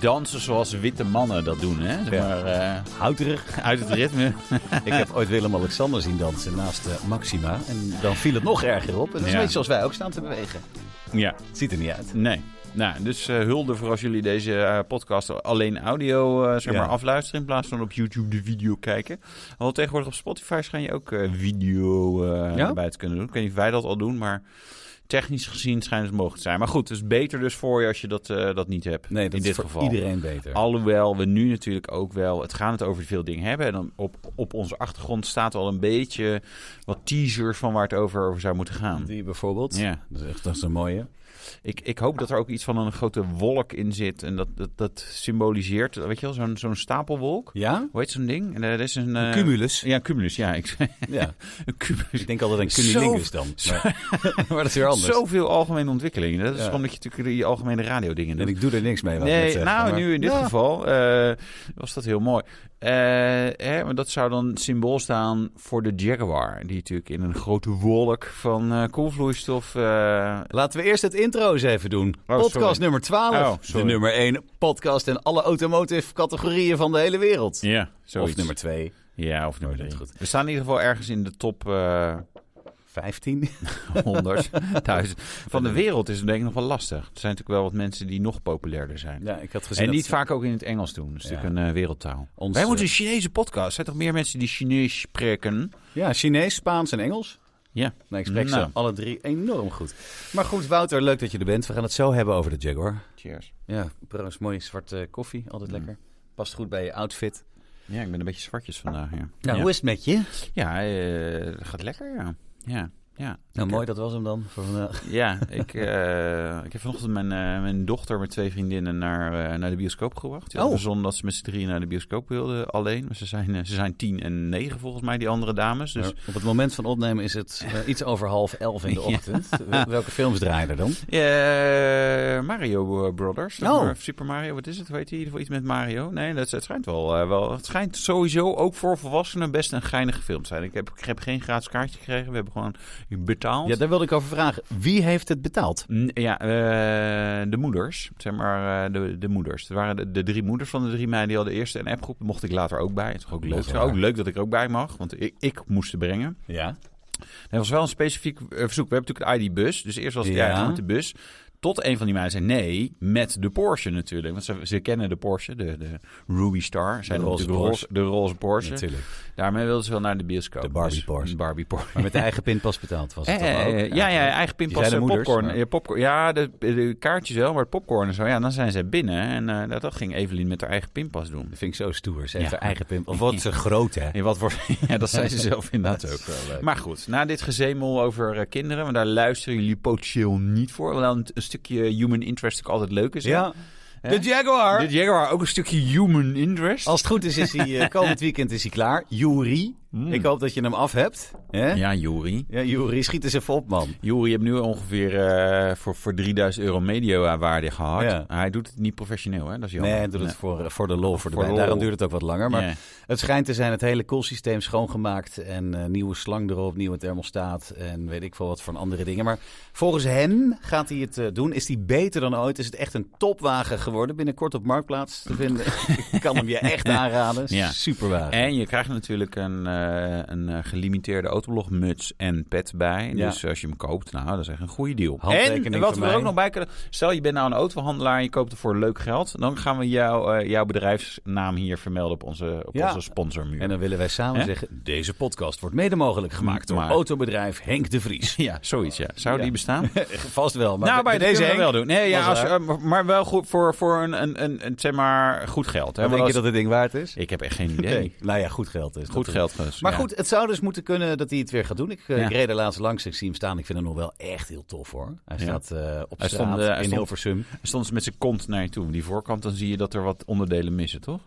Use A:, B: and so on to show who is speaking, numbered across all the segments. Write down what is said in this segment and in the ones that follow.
A: dansen zoals witte mannen dat doen. Hè? Zeg
B: Ja.
A: maar, eh, houterig, uit het ritme.
B: Ik heb ooit Willem-Alexander zien dansen naast eh, Maxima. En dan viel het nog erger op. En dat is
A: Ja.
B: een beetje zoals wij ook staan te bewegen.
A: ja,
B: Het ziet er niet uit.
A: nee. Nou, dus eh, hulde voor als jullie deze eh, podcast alleen audio eh, zeg
B: Ja.
A: maar afluisteren in plaats van op YouTube de video kijken. Want tegenwoordig op Spotify schijn je ook eh, video eh
B: Ja?
A: bij te kunnen doen. Ik weet niet of wij dat al doen, maar technisch gezien schijnt het mogelijk te zijn. Maar goed, het is beter dus voor je als je dat, eh, dat niet hebt.
B: Nee, dat
A: in
B: is
A: dit
B: voor
A: geval.
B: iedereen beter.
A: Alhoewel we nu natuurlijk ook wel, het gaan het over veel dingen hebben. En dan op, op onze achtergrond staat al een beetje wat teasers van waar het over, over zou moeten gaan.
B: Die bijvoorbeeld.
A: Ja.
B: Dat is echt dat is een mooie.
A: Ik, ik hoop dat er ook iets van een grote wolk in zit. En dat, dat, dat symboliseert, weet je wel, zo'n zo'n stapelwolk.
B: Ja?
A: Hoe heet zo'n ding? En er is een... eh,
B: Cumulus.
A: Ja, cumulus. Ja, ik,
B: Ja.
A: een cumulus.
B: Ik denk altijd aan cunnilingus dan. Maar, maar dat is weer anders.
A: Zoveel algemene ontwikkelingen. Dat is
B: Ja.
A: gewoon omdat je natuurlijk die algemene radiodingen doet.
B: En ik doe er niks mee. wou ik net
A: Nee,
B: zeggen,
A: nou,
B: maar-
A: nu in dit
B: Ja.
A: geval eh, was dat heel mooi. Eh, hè, maar dat zou dan symbool staan voor de Jaguar. Die natuurlijk in een grote wolk van eh, koelvloeistof... eh,
B: Laten we eerst het intro eens even doen.
A: Oh, sorry.
B: podcast nummer 12.
A: Oh,
B: de
A: sorry.
B: nummer 1 podcast in alle automotive categorieën van de hele wereld.
A: ja, zoiets.
B: Of nummer 2.
A: Ja, of nummer
B: Oh, dat is
A: drie. We staan in ieder geval ergens in de top eh
B: 15.
A: 100 duizend. van de wereld. Is het denk ik nog wel lastig. Er zijn natuurlijk wel wat mensen die nog populairder zijn.
B: Ja, ik had gezien
A: En
B: dat-
A: niet vaak ook in het Engels doen. Dat is
B: Ja.
A: natuurlijk een eh, wereldtaal.
B: Ons,
A: Wij
B: eh,
A: moeten een Chinese podcast. zijn toch meer mensen die Chinees spreken?
B: Ja, Chinees, Spaans en Engels.
A: Ja.
B: Nee, ik spreek
A: Nou.
B: ze alle drie enorm goed. Maar goed, Wouter, leuk dat je er bent. We gaan het zo hebben over de Jaguar.
A: Cheers.
B: Ja, trouwens, mooie zwarte koffie. Altijd lekker. Past goed bij je outfit.
A: Ja, ik ben een beetje zwartjes vandaag. Ja,
B: Nou,
A: ja.
B: hoe is het met je?
A: Ja, eh, dat gaat lekker, ja. Ja, ja.
B: Nou,
A: Ik-
B: mooi, dat was hem dan voor vandaag.
A: Ja, ik, eh, ik heb vanochtend mijn, eh, mijn dochter met twee vriendinnen naar, eh, naar de bioscoop gebracht. Die
B: Oh.
A: hadden verzonnen dat ze met z'n drieën naar de bioscoop wilden alleen. Maar ze zijn, eh, ze zijn tien en negen volgens mij, die andere dames. Dus
B: Dus op het moment van opnemen is het eh, iets over half elf in de
A: Ja.
B: ochtend. Wel- Welke films draaien er dan?
A: Eh, Mario eh, Brothers. zeg
B: Oh.
A: maar. Super Mario, wat is het? Weet je in ieder geval iets met Mario? Nee, dat, het schijnt wel, eh, wel. Het schijnt sowieso ook voor volwassenen best een geinige film te zijn. Ik heb, ik heb geen gratis kaartje gekregen. We hebben gewoon betaald.
B: Ja, daar wilde ik over vragen. Wie heeft het betaald?
A: N- Ja, eh, de moeders, zeg maar, eh, de, de moeders. Er waren de, de drie moeders van de drie meiden, die hadden eerst een appgroep. Daar mocht ik later ook bij. Het is toch ook leuk.
B: Later
A: Het is ook
B: bij.
A: leuk dat ik er ook bij mag, want ik, ik moest ze brengen.
B: Ja.
A: Er was wel een specifiek eh, verzoek. We hebben natuurlijk de ID-bus, dus eerst was het
B: Ja.
A: ja. met de bus. Tot een van die meiden zei nee, met de Porsche natuurlijk. Want ze, ze kennen de Porsche, de, de Ruby Star. Zijn
B: De
A: de
B: roze
A: roze, de roze, Porsche.
B: Natuurlijk.
A: Daarmee wilden ze wel naar de bioscoop.
B: De Barbie
A: Dus
B: Porsche.
A: een Barbie Porsche.
B: Maar met de eigen pinpas betaald was het
A: Eh,
B: toch
A: eh,
B: ook?
A: ja, ja, eigen pinpas
B: zijn de
A: en
B: moeders,
A: popcorn.
B: maar-
A: Ja, popcorn. ja de, de kaartjes wel, maar het popcorn en zo. Ja, dan zijn ze binnen. En eh, dat, dat ging Evelien met haar eigen pinpas doen.
B: Dat vind ik zo stoer. Ze heeft
A: Ja.
B: haar eigen pinpas. Of wat ze groot, hè?
A: En wat voor... ja, dat zijn ze zelf inderdaad
B: Dat
A: ook.
B: is wel leuk.
A: Maar goed, na dit gezemel over eh, kinderen, want daar luisteren jullie potentieel niet voor. Wel een, een stukje human interest ook altijd leuk is. hè?
B: Ja.
A: Hè?
B: De Jaguar.
A: De Jaguar, ook een stukje human interest.
B: Als het goed is, is hij eh, komend weekend is hij klaar. Jury. Ik hoop dat je hem af hebt. Hè? Ja.
A: Hmm. Ja, Jori.
B: Jury, schiet eens even op, man.
A: Jori heeft nu ongeveer eh, voor, voor 3000 euro media-waarde gehad.
B: Ja.
A: Hij doet het niet professioneel, hè? Dat is jammer.
B: Nee, hij doet het voor, eh, voor de lol. Voor de
A: Voor
B: bij-
A: lol.
B: Daarom duurt het ook wat langer. Maar
A: Ja.
B: het schijnt te zijn het hele koelsysteem schoongemaakt. En eh, nieuwe slang erop, nieuwe thermostaat. En weet ik veel wat voor andere dingen. Maar volgens hem gaat hij het eh, doen. Is hij beter dan ooit? Is het echt een topwagen geworden? Binnenkort op Marktplaats te vinden. Ik kan hem je echt aanraden.
A: Ja.
B: Superwagen.
A: En je krijgt natuurlijk een, eh, een eh, gelimiteerde autoblogmuts en pet bij.
B: Ja.
A: Dus als je hem koopt, nou, dat is echt een goede deal.
B: Handtekening
A: En wat
B: van
A: we er
B: mij.
A: ook nog bij kunnen... Stel, je bent nou een autohandelaar en je koopt het voor leuk geld. Dan gaan we jou, eh, jouw bedrijfsnaam hier vermelden op onze, op
B: Ja.
A: onze sponsormuur.
B: En dan willen wij samen
A: Hè?
B: zeggen, deze podcast wordt mede mogelijk gemaakt door
A: Maar-
B: autobedrijf Henk de Vries.
A: ja, zoiets, ja. Zou
B: Ja.
A: die bestaan?
B: Vast wel, maar
A: nou,
B: bij,
A: bij
B: deze
A: deze
B: Henk,
A: wel doen. Nee, ja,
B: Was
A: als,
B: er,
A: eh, maar- maar wel goed voor, voor een, een, een, een, zeg maar, goed geld. Hè?
B: dan
A: Want
B: denk je
A: als-
B: dat het ding waard is?
A: Ik heb echt geen idee.
B: Nou ja, goed geld is
A: Goed
B: dat.
A: geld, dus,
B: Maar
A: ja.
B: goed, het zou dus moeten kunnen dat hij het weer gaat doen. Ik, eh,
A: Ja.
B: ik reed er laatst langs, ik zie hem staan. Ik vind hem nog wel echt heel tof hoor. Hij
A: Ja.
B: staat eh, op
A: Hij
B: straat
A: stond, eh, hij
B: in
A: stond-
B: Hilversum.
A: Dan Stond ze met zijn kont naar je toe. Die voorkant, dan zie je dat er wat onderdelen missen, toch?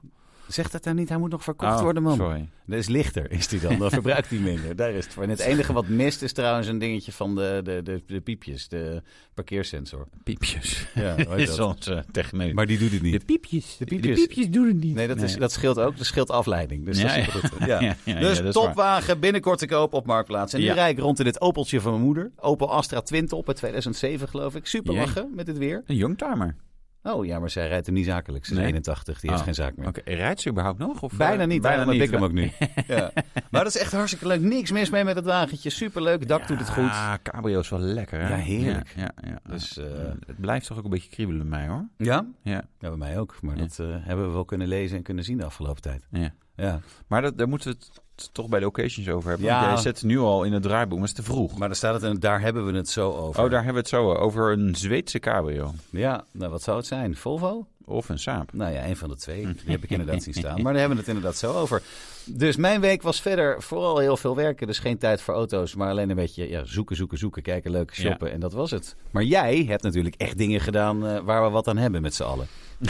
B: Zeg dat daar niet, hij moet nog verkocht
A: Oh,
B: worden man.
A: Sorry.
B: Dat is lichter, is die dan. Dan verbruikt hij minder. Daar is het voor. En het enige wat mist is trouwens een dingetje van de, de, de, de piepjes, de parkeersensor.
A: Piepjes.
B: Ja, hoe heet
A: is
B: dat?
A: onze techneut.
B: Maar die doet het niet.
A: De piepjes. De
B: piepjes.
A: doen het niet.
B: Nee, dat, Is, dat scheelt ook. Dat scheelt afleiding. Dus dat
A: Ja,
B: is
A: ja.
B: goed.
A: Ja,
B: Ja.
A: ja, ja,
B: dus
A: dat is
B: topwagen binnenkort te koop op Marktplaats. En nu
A: Ja.
B: rijd ik rond in dit Opeltje van mijn moeder. Opel Astra Twintop uit 2007 geloof ik. Super
A: Jee.
B: lachen met dit weer.
A: Een youngtimer.
B: Oh ja, maar zij rijdt hem niet zakelijk. Ze is
A: Nee.
B: 81, die
A: Oh,
B: heeft geen zaak meer.
A: Oké, rijdt ze überhaupt nog? Of,
B: Bijna
A: eh,
B: niet,
A: bijna
B: daarom heb ik
A: niet.
B: hem ook nu. ja. Maar dat is echt hartstikke leuk. Niks mis mee met het wagentje. Superleuk, het dak doet het goed.
A: Ja, Ah, cabrio is wel lekker, hè?
B: Ja, heerlijk.
A: Ja, ja, ja.
B: Dus, eh,
A: Eh, het blijft toch ook een beetje kriebelen bij mij, hoor.
B: ja?
A: Ja,
B: Ja, bij mij ook. Maar
A: Ja.
B: dat eh, hebben we wel kunnen lezen en kunnen zien de afgelopen tijd.
A: ja.
B: Ja.
A: Maar dat, daar moeten we het toch bij de occasions over hebben.
B: Ja.
A: Want jij zet het nu al in het draaiboek, maar het is te vroeg.
B: Maar daar staat het en daar hebben we het zo over.
A: Oh, daar hebben we het zo over een Zweedse cabrio.
B: Ja, nou wat zou het zijn? Volvo?
A: Of een Saab.
B: Nou ja, een van de twee. Die heb ik inderdaad zien staan. Maar daar hebben we het inderdaad zo over. Dus mijn week was verder vooral heel veel werken. Dus geen tijd voor auto's, maar alleen een beetje ja, zoeken, zoeken, zoeken. Kijken, leuke shoppen en dat was het. Maar jij hebt natuurlijk echt dingen gedaan eh, waar we wat aan hebben met z'n allen.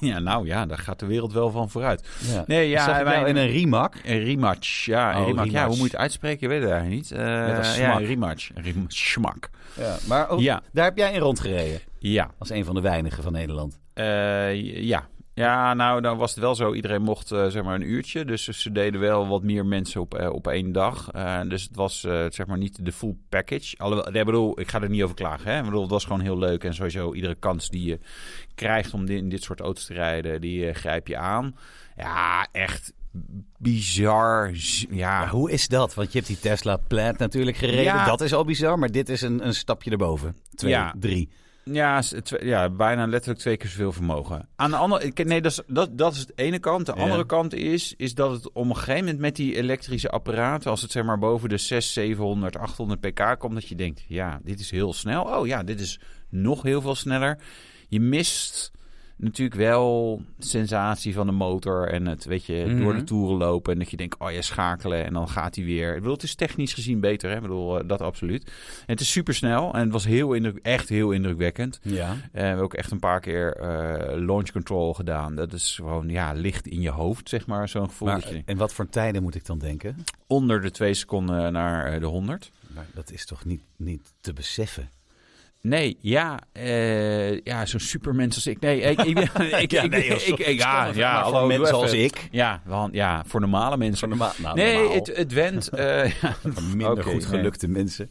A: ja, nou ja, daar gaat de wereld wel van vooruit. nou
B: Ja.
A: Nee,
B: Ja,
A: ja,
B: Zag ik
A: wij-
B: jou in een remak.
A: Een rematch, ja. een
B: Oh,
A: rematch. Ja,
B: rematch.
A: hoe moet je het uitspreken? Je weet het eigenlijk niet. Eh,
B: Net als
A: ja,
B: smak.
A: een rematch. Een rem- Smak.
B: Ja, maar ook,
A: Ja.
B: daar heb jij in rondgereden.
A: Ja.
B: Als een van de weinigen van Nederland.
A: Eh, ja. Ja, nou, dan was het wel zo. Iedereen mocht eh, zeg maar een uurtje. Dus ze deden wel wat meer mensen op, eh, op één dag. Eh, dus het was eh, zeg maar niet de full package. Alhoewel, nee, ik bedoel, ik ga er niet over klagen. Hè? Ik bedoel, het was gewoon heel leuk. En sowieso, iedere kans die je krijgt om di- in dit soort auto's te rijden, die eh, grijp je aan. Ja, echt bizar. z- Ja,
B: Maar hoe is dat? Want je hebt die Tesla Plaid natuurlijk gereden.
A: Ja.
B: Dat is al bizar, maar dit is een, een stapje erboven. Twee,
A: Ja.
B: drie.
A: Ja, s- twe- ja, bijna letterlijk twee keer zoveel vermogen. Aan de andere ik- nee, dat is, dat, dat is de ene kant. De
B: Ja.
A: andere kant is, is dat het om een gegeven moment met die elektrische apparaten, als het zeg maar boven de 6, 700, 800 pk komt, dat je denkt, ja, dit is heel snel. Oh ja, dit is nog heel veel sneller. Je mist natuurlijk wel sensatie van de motor en het, weet je,
B: Mhm.
A: door de toeren lopen en dat je denkt, oh ja, schakelen en dan gaat hij weer. Ik bedoel, het is technisch gezien beter, hè? Ik bedoel, eh, dat absoluut. En het is supersnel en het was heel indruk, echt heel indrukwekkend.
B: Ja.
A: Eh, we hebben ook echt een paar keer eh, launch control gedaan. Dat is gewoon ja, licht in je hoofd, zeg maar. Zo'n gevoel dat
B: Maar,
A: je
B: en wat voor tijden moet ik dan denken?
A: onder de twee seconden naar eh, de 100.
B: Maar dat is toch niet, niet te beseffen?
A: Nee, ja, eh, ja zo'n supermens als ik. Nee, ik, ik, ben- ik, ik, ik- ik- ja, Ah, ja, hallo,
B: voor
A: doe
B: mensen
A: even.
B: als ik.
A: Ja, want, ja, voor normale
B: Voor
A: mensen.
B: normaal, nou,
A: nee,
B: normaal.
A: het, het went. eh, ja,
B: minder
A: Oké,
B: goed
A: nee.
B: gelukte mensen.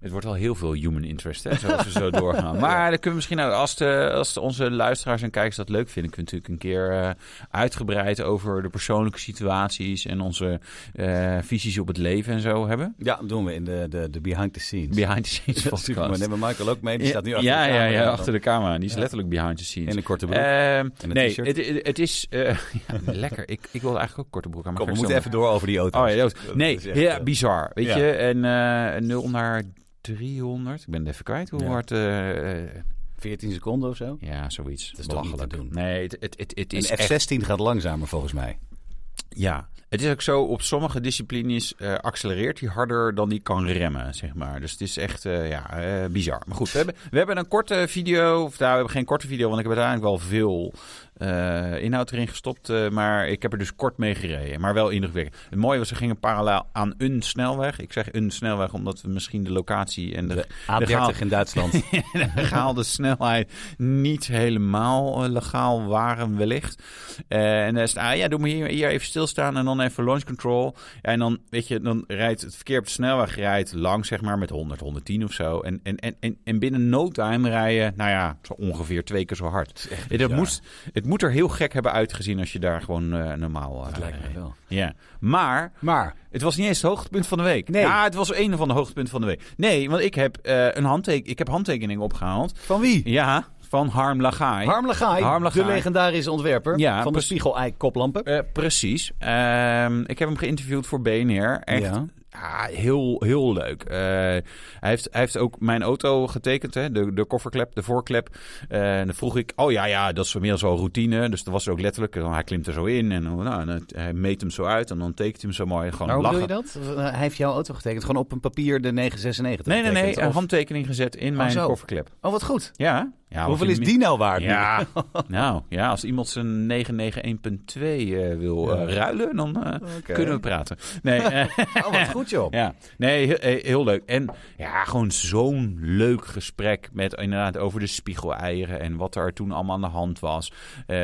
A: Het wordt al heel veel human interest, hè, zoals we zo doorgaan. Maar dan kunnen we misschien, nou, als, de, als de- onze luisteraars en kijkers dat leuk vinden, kunnen we natuurlijk een keer eh, uitgebreid over de persoonlijke situaties en onze eh, visies op het leven en zo hebben.
B: Ja, dat doen we in de, de, de behind the scenes.
A: Behind the scenes
B: Ja, super. Maar
A: podcast.
B: nemen we Michael ook mee. Die staat nu achter
A: ja,
B: de
A: ja,
B: camera.
A: ja, achter de camera. Die is
B: Ja.
A: letterlijk behind the scenes.
B: In een korte broek.
A: Ehm,
B: een
A: nee,
B: t-shirt.
A: het, het, het is eh, ja, lekker. Ik, ik wilde eigenlijk ook korte broek aan. maar
B: Kom, we
A: ik ga
B: moeten
A: zo-
B: even door over die auto.
A: Oh ja, dat-
B: Dat
A: nee,
B: is echt,
A: ja,
B: eh,
A: bizar. Weet
B: ja.
A: je, en eh 0 naar 300. Ik ben het even kwijt hoe
B: Ja.
A: hard... eh, eh,
B: 14 seconden of zo.
A: ja, zoiets.
B: is toch niet te
A: Belachelijk.
B: doen.
A: Nee, het, het, het, het
B: En
A: is
B: F16
A: echt...
B: gaat langzamer volgens mij.
A: Ja, het is ook zo, op sommige disciplines eh, accelereert hij harder dan hij kan remmen, zeg maar. Dus het is echt, eh, ja, eh, bizar. Maar goed, we hebben, we hebben een korte video, of nou, we hebben geen korte video, want ik heb uiteindelijk wel veel eh, inhoud erin gestopt. eh, maar ik heb er dus kort mee gereden, maar wel indrukwekkend. Het mooie was, ze gingen parallel aan een snelweg. Ik zeg een snelweg, omdat we misschien de locatie en de,
B: De
A: gaan-
B: A30 in Duitsland.
A: de gehaalde snelheid niet helemaal eh, legaal waren wellicht. Eh, en dan is het, ah ja, doe me hier, hier even stilstaan en dan even launch control. en dan, weet je, dan rijdt het verkeer op de snelweg rijdt lang, zeg maar, met 100, 110 of zo. En, en, en, en, en binnen no time rij je, nou ja, zo ongeveer twee keer zo hard. Dat
B: bizar.
A: moest, het moet er heel gek hebben uitgezien als je daar gewoon eh, normaal... eh,
B: Dat lijkt me
A: rijdt.
B: wel.
A: Ja, maar...
B: Maar
A: Het was niet eens het hoogtepunt van de week.
B: Nee.
A: Ja, het was een van de hoogtepunten van de week. Nee, want ik heb, eh, een handtek ik heb handtekeningen opgehaald.
B: van wie?
A: Ja, van Harm Lagaai.
B: Harm Lagaai,
A: Harm Lagaai.
B: de legendarische ontwerper
A: Ja,
B: van de
A: precies.
B: Spiegel Ei koplampen.
A: Eh, precies. Ehm, ik heb hem geïnterviewd voor BNR. Echt
B: Ja.
A: ah, heel, heel leuk. Eh, hij, heeft, hij heeft ook mijn auto getekend, hè? De, de kofferklep, de voorklep. Eh, en dan vroeg ik, oh ja, ja, dat is meer zo routine. Dus dat was ook letterlijk, eh, hij klimt er zo in en, nou, en het- hij meet hem zo uit en dan tekent hij hem zo mooi. Gewoon
B: Maar hoe
A: lachen.
B: bedoel je dat? Eh, Hij heeft jouw auto getekend, gewoon op een papier de 996
A: Nee, nee, nee. eh,
B: getekend,
A: Een
B: of-
A: handtekening gezet in mijn
B: zo.
A: kofferklep.
B: Oh, wat goed.
A: Ja. ja
B: Hoeveel
A: want
B: is
A: je-
B: die nou waard nu?
A: Ja, nou ja, als iemand zijn 991.2 eh, wil
B: Ja.
A: eh, ruilen, dan eh,
B: Oké.
A: kunnen we praten. Nee, eh,
B: Oh, wat goed joh.
A: ja. nee he- he- heel leuk. En ja, gewoon zo'n leuk gesprek met inderdaad over de spiegeleieren en wat er toen allemaal aan de hand was. Eh,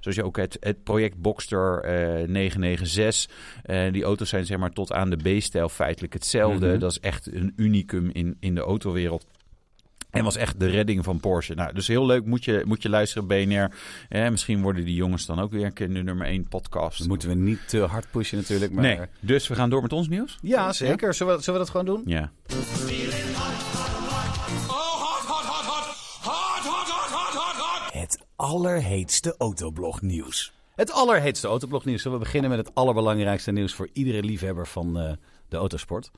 A: zoals je ook het, het project Boxster eh, 996. eh, die auto's zijn zeg maar tot aan de B-stijl feitelijk hetzelfde.
B: Mhm.
A: Dat is echt een unicum in, in de autowereld. En was echt de redding van Porsche. Nou, dus heel leuk. Moet je, moet je luisteren, BNR. Eh, misschien worden die jongens dan ook weer een keer de nummer 1 podcast.
B: Dat moeten we niet te hard pushen natuurlijk. Maar...
A: Nee, dus we gaan door met ons nieuws?
B: Ja, zeker. Zullen we, zullen we dat gewoon doen?
A: Ja.
C: Het allerheetste autoblognieuws.
B: Het allerheetste autoblognieuws. Zullen we beginnen met het allerbelangrijkste nieuws voor iedere liefhebber van eh, de autosport?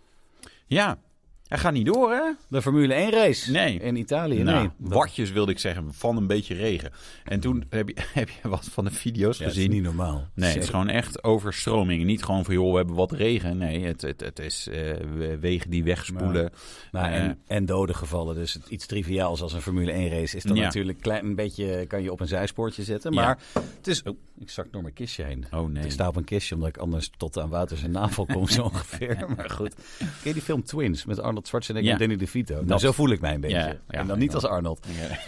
A: Ja. Hij gaat niet door, hè?
B: De Formule 1 race
A: Nee.
B: in Italië.
A: Nou,
B: nee, Dat-
A: watjes wilde ik zeggen, van een beetje regen. En toen heb je, heb je wat van de video's
B: Ja, het is
A: gezien.
B: niet normaal.
A: Nee, het
B: Zeker.
A: is gewoon echt overstroming. Niet gewoon van, joh, we hebben wat regen. Nee, het, het, het is eh, we- wegen die wegspoelen.
B: Nou,
A: Eh,
B: en, en dode gevallen. Dus het- iets triviaals als een Formule 1 race is dan
A: Ja.
B: natuurlijk klein, een beetje kan je op een zijspoortje zetten.
A: Ja.
B: Maar het is. Oh, ik zak door mijn kistje heen.
A: Oh, nee.
B: Ik sta op een kistje omdat ik anders tot aan Wouter zijn navel kom, zo ongeveer. Maar goed. Ken je die film Twins met Arnold Schwarzenegger
A: Ja.
B: en Danny DeVito? Nou,
A: Dat-
B: zo voel ik mij een beetje.
A: Ja, ja,
B: en dan niet
A: ik
B: als Arnold.